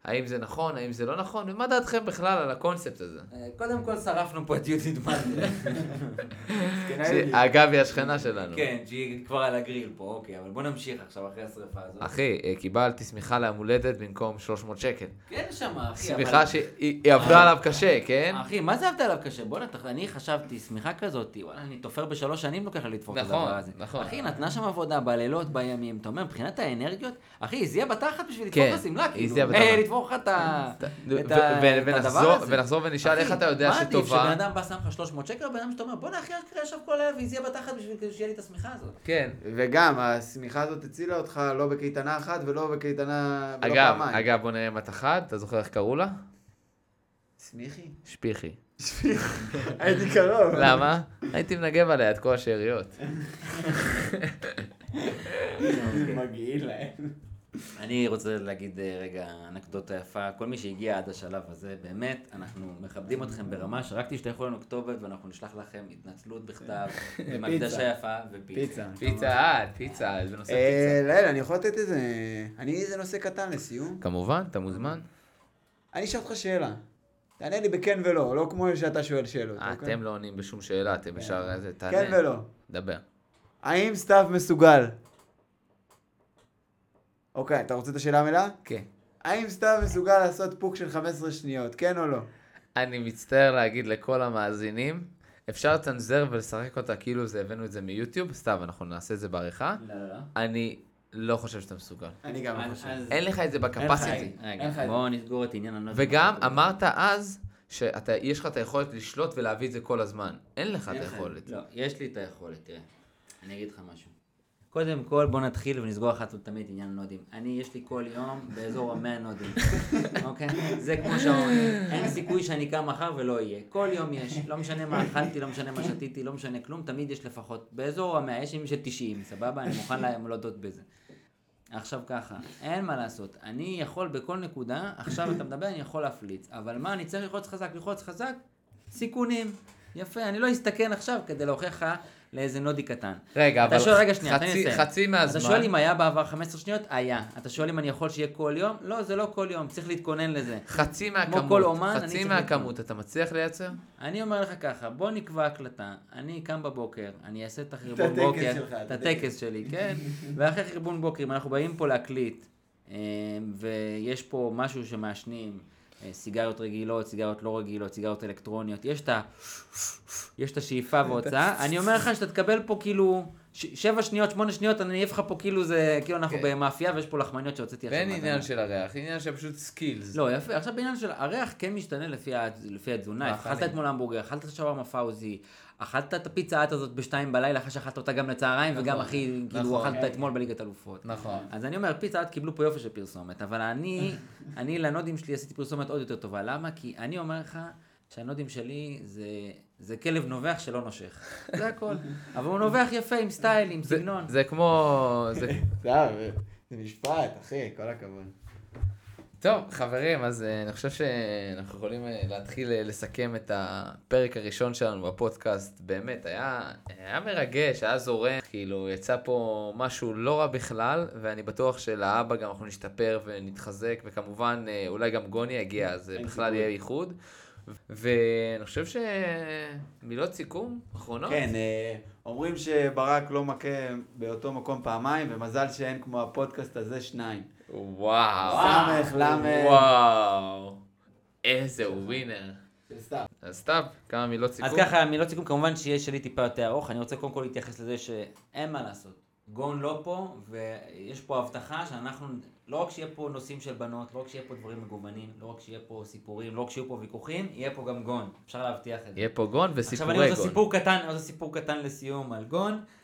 Speaker 1: האם זה נכון, האם זה לא נכון, ומה דעתכם בכלל על הקונספט הזה?
Speaker 5: אה, קודם כל שרפנו פה את יהודית מנדל.
Speaker 1: אגב, היא השכנה שלנו.
Speaker 5: כן, שהיא כבר על הגריל פה, אוקיי, אבל בוא נמשיך עכשיו אחרי השרפה הזאת.
Speaker 1: אחי, אה, קיבלתי שמיכה ליום הולדת במקום 300 שקל.
Speaker 5: כן, שמה, אחי. אבל-
Speaker 1: שמיכה שהיא היא עבדה עליו קשה, כן?
Speaker 5: אחי, מה זה עבד עליו קשה? בואנה, תח- אני חשבתי, שמיכה כזאת, וואלה, אני תופר בשלוש שנים לוקח לי לתפור את
Speaker 1: נכון,
Speaker 5: הדבר הזה.
Speaker 1: נכון.
Speaker 5: אחי, נתנה שם עבודה בלילות, בימים, אתה אומר, מבחינת האנרגיות, אחי, היא זיהה בתחת בשביל לתפור
Speaker 1: כן,
Speaker 5: את השמלה,
Speaker 1: היא
Speaker 5: כאילו.
Speaker 1: זיהה בתחת.
Speaker 5: אה, לתפור לך את ה- את
Speaker 1: ו-
Speaker 5: ה- את
Speaker 1: ו-
Speaker 5: הדבר
Speaker 1: ונחזור-
Speaker 5: הזה.
Speaker 1: ונחזור ונשאל
Speaker 5: אחי,
Speaker 1: איך אתה יודע
Speaker 5: מה עדיף, שבן
Speaker 1: שטובה.
Speaker 5: אדם בא שם לך 300 שקל, או בן אדם שאתה אומר, בואנה, אחי, אשכרה ישב כל הערב, היא זיהה בתחת בשביל כדי שיהיה לי את השמיכה הזאת.
Speaker 1: כן.
Speaker 4: וגם, השמיכה הזאת הצילה אותך לא בקייטנה אחת ולא בקייטנה... ולא
Speaker 1: אגב,
Speaker 4: לא פעמיים.
Speaker 1: אגב, בוא נראה אם את אחת, אתה זוכר איך קראו לה?
Speaker 4: סמיכי.
Speaker 1: שפיכי.
Speaker 4: הייתי קרוב.
Speaker 1: למה? הייתי מנגב עליה את כל השאריות.
Speaker 7: מגעיל להם.
Speaker 5: אני רוצה להגיד אה, רגע אנקדוטה יפה. כל מי שהגיע עד השלב הזה, באמת, אנחנו מכבדים אתכם ברמה שרק תשלחו לנו כתובת ואנחנו נשלח לכם התנצלות בכתב, עם הקדשה יפה ופיצה.
Speaker 4: פיצה.
Speaker 1: פיצה עד, פיצה עד, בנושא
Speaker 4: אה,
Speaker 1: פיצה.
Speaker 4: לאל, אני יכול לתת איזה... אני איזה נושא קטן לסיום.
Speaker 1: כמובן, אתה מוזמן.
Speaker 4: אני אשאל אותך שאלה. תענה לי בכן ולא, לא כמו שאתה שואל שאלות.
Speaker 1: אה,
Speaker 4: אוקיי?
Speaker 1: אתם לא עונים בשום שאלה, אתם ישר איזה, תענה.
Speaker 4: כן ולא.
Speaker 1: דבר.
Speaker 4: האם סתיו מסוגל? אוקיי, אתה רוצה את השאלה המלאה?
Speaker 1: כן.
Speaker 4: האם סתיו מסוגל לעשות פוק של 15 שניות, כן או לא?
Speaker 1: אני מצטער להגיד לכל המאזינים, אפשר לצנזר ולשחק אותה כאילו זה, הבאנו את זה מיוטיוב, סתיו, אנחנו נעשה את זה בעריכה.
Speaker 5: לא, לא, לא.
Speaker 1: אני לא חושב שאתה מסוגל.
Speaker 4: אני גם לא
Speaker 5: אז-
Speaker 4: חושב.
Speaker 5: אז-
Speaker 1: אין לך את זה בקפסיטי.
Speaker 5: רגע, בואו נסגור את עניין הנוסח.
Speaker 1: וגם אמרת אז שיש לך את היכולת לשלוט ולהביא את זה כל הזמן. אין לך את
Speaker 5: אין לך-
Speaker 1: היכולת.
Speaker 5: לא, יש לי את היכולת, תראה. אני אגיד לך משהו. קודם כל, בוא נתחיל ונסגור אחת ולתמיד עניין הנודים. אני, יש לי כל יום באזור המאה נודים, אוקיי? זה כמו שאומרים, אין סיכוי שאני קם מחר ולא יהיה. כל יום יש, לא משנה מה אכלתי, לא משנה מה שתיתי, לא משנה כלום, תמיד יש לפחות. באזור המאה, יש ימים של 90, סבבה? אני מוכן להם להודות בזה. עכשיו ככה, אין מה לעשות, אני יכול בכל נקודה, עכשיו אתה מדבר, אני יכול להפליץ, אבל מה, אני צריך ללחוץ חזק, ללחוץ חזק, סיכונים. יפה, אני לא אסתכן עכשיו כדי להוכיח לך לאיזה נודי קטן.
Speaker 1: רגע, אבל
Speaker 5: אתה שואל, רגע, שנייה, תן לי
Speaker 1: חצי-
Speaker 5: לסיים.
Speaker 1: חצי מהזמן.
Speaker 5: אתה שואל אם היה בעבר 15 שניות? היה. אתה שואל אם אני יכול שיהיה כל יום? לא, זה לא כל יום, צריך להתכונן לזה.
Speaker 1: חצי מהכמות,
Speaker 5: כל אומן, אני
Speaker 1: חצי
Speaker 5: צריך
Speaker 1: מהכמות, אתה מצליח לייצר?
Speaker 5: אני אומר לך ככה, בוא נקבע הקלטה, אני קם בבוקר, אני אעשה את החרבון בוקר,
Speaker 7: שלך,
Speaker 5: את הטקס שלי, כן? ואחרי חרבון בוקר, אם אנחנו באים פה להקליט, אה, ויש פה משהו שמעשנים, אה, סיגריות רגילות, סיגריות לא רגילות, סיגריות אלקטרוניות, יש את ה... יש את השאיפה וההוצאה, אני אומר לך שאתה תקבל פה כאילו... ש- שבע שניות, שמונה שניות, אני אעיף לך פה כאילו זה, כאילו אנחנו
Speaker 1: כן.
Speaker 5: במאפייה ויש פה לחמניות שהוצאתי עכשיו.
Speaker 1: ואין
Speaker 5: מהאדמה.
Speaker 1: עניין של הריח, עניין של פשוט סקילס.
Speaker 5: לא, יפה. עכשיו בעניין של הריח כן משתנה לפי, ה- לפי התזונה.
Speaker 1: מאכלים.
Speaker 5: אכלת אתמול המבורגר, אכלת את השווארמה פאוזי, אכלת את הפיצה האט הזאת בשתיים בלילה, אחרי שאכלת אותה גם לצהריים, וגם הכי, כאילו,
Speaker 1: נכון.
Speaker 5: אכלת אתמול בליגת אלופות.
Speaker 1: נכון.
Speaker 5: אז אני אומר, פיצה האט קיבלו פה יופי של פרסומת, אבל אני, אני לנודים שלי עשיתי פרסומת עוד יותר טובה. למה? כי אני אומר לך שהנודים שלי זה... זה כלב נובח שלא נושך, זה הכל. אבל הוא נובח יפה, עם סטייל, עם
Speaker 1: זה-
Speaker 5: סגנון.
Speaker 1: זה כמו... זה-
Speaker 4: סתיו, זה משפט, אחי, כל הכבוד.
Speaker 1: טוב, חברים, אז אה, אני חושב שאנחנו יכולים אה, להתחיל אה, לסכם את הפרק הראשון שלנו בפודקאסט. באמת, היה, היה מרגש, היה זורם, כאילו, יצא פה משהו לא רע בכלל, ואני בטוח שלהבא גם אנחנו נשתפר ונתחזק, וכמובן, אה, אולי גם גוני יגיע, אז אה, בכלל יהיה איחוד. ואני חושב שמילות סיכום, אחרונות?
Speaker 4: כן, אה, אומרים שברק לא מכה באותו מקום פעמיים, ומזל שאין כמו הפודקאסט הזה שניים.
Speaker 1: וואו.
Speaker 4: סמך, למך.
Speaker 1: וואו. איזה ווינר. אז סתיו, כמה מילות סיכום.
Speaker 5: אז ככה, מילות סיכום, כמובן שיש שלי טיפה יותר ארוך, אני רוצה קודם כל להתייחס לזה שאין מה לעשות. גון לא פה, ויש פה הבטחה שאנחנו, לא רק שיהיה פה נושאים של בנות, לא רק שיהיה פה דברים מגוונים, לא רק שיהיה פה סיפורים, לא רק שיהיו פה ויכוחים, יהיה פה גם גון. אפשר להבטיח את זה.
Speaker 1: יהיה פה גון
Speaker 5: עכשיו אני
Speaker 1: וסיפורי
Speaker 5: רוצה
Speaker 1: גון.
Speaker 5: סיפור קטן, אני רוצה סיפור קטן לסיום על גון.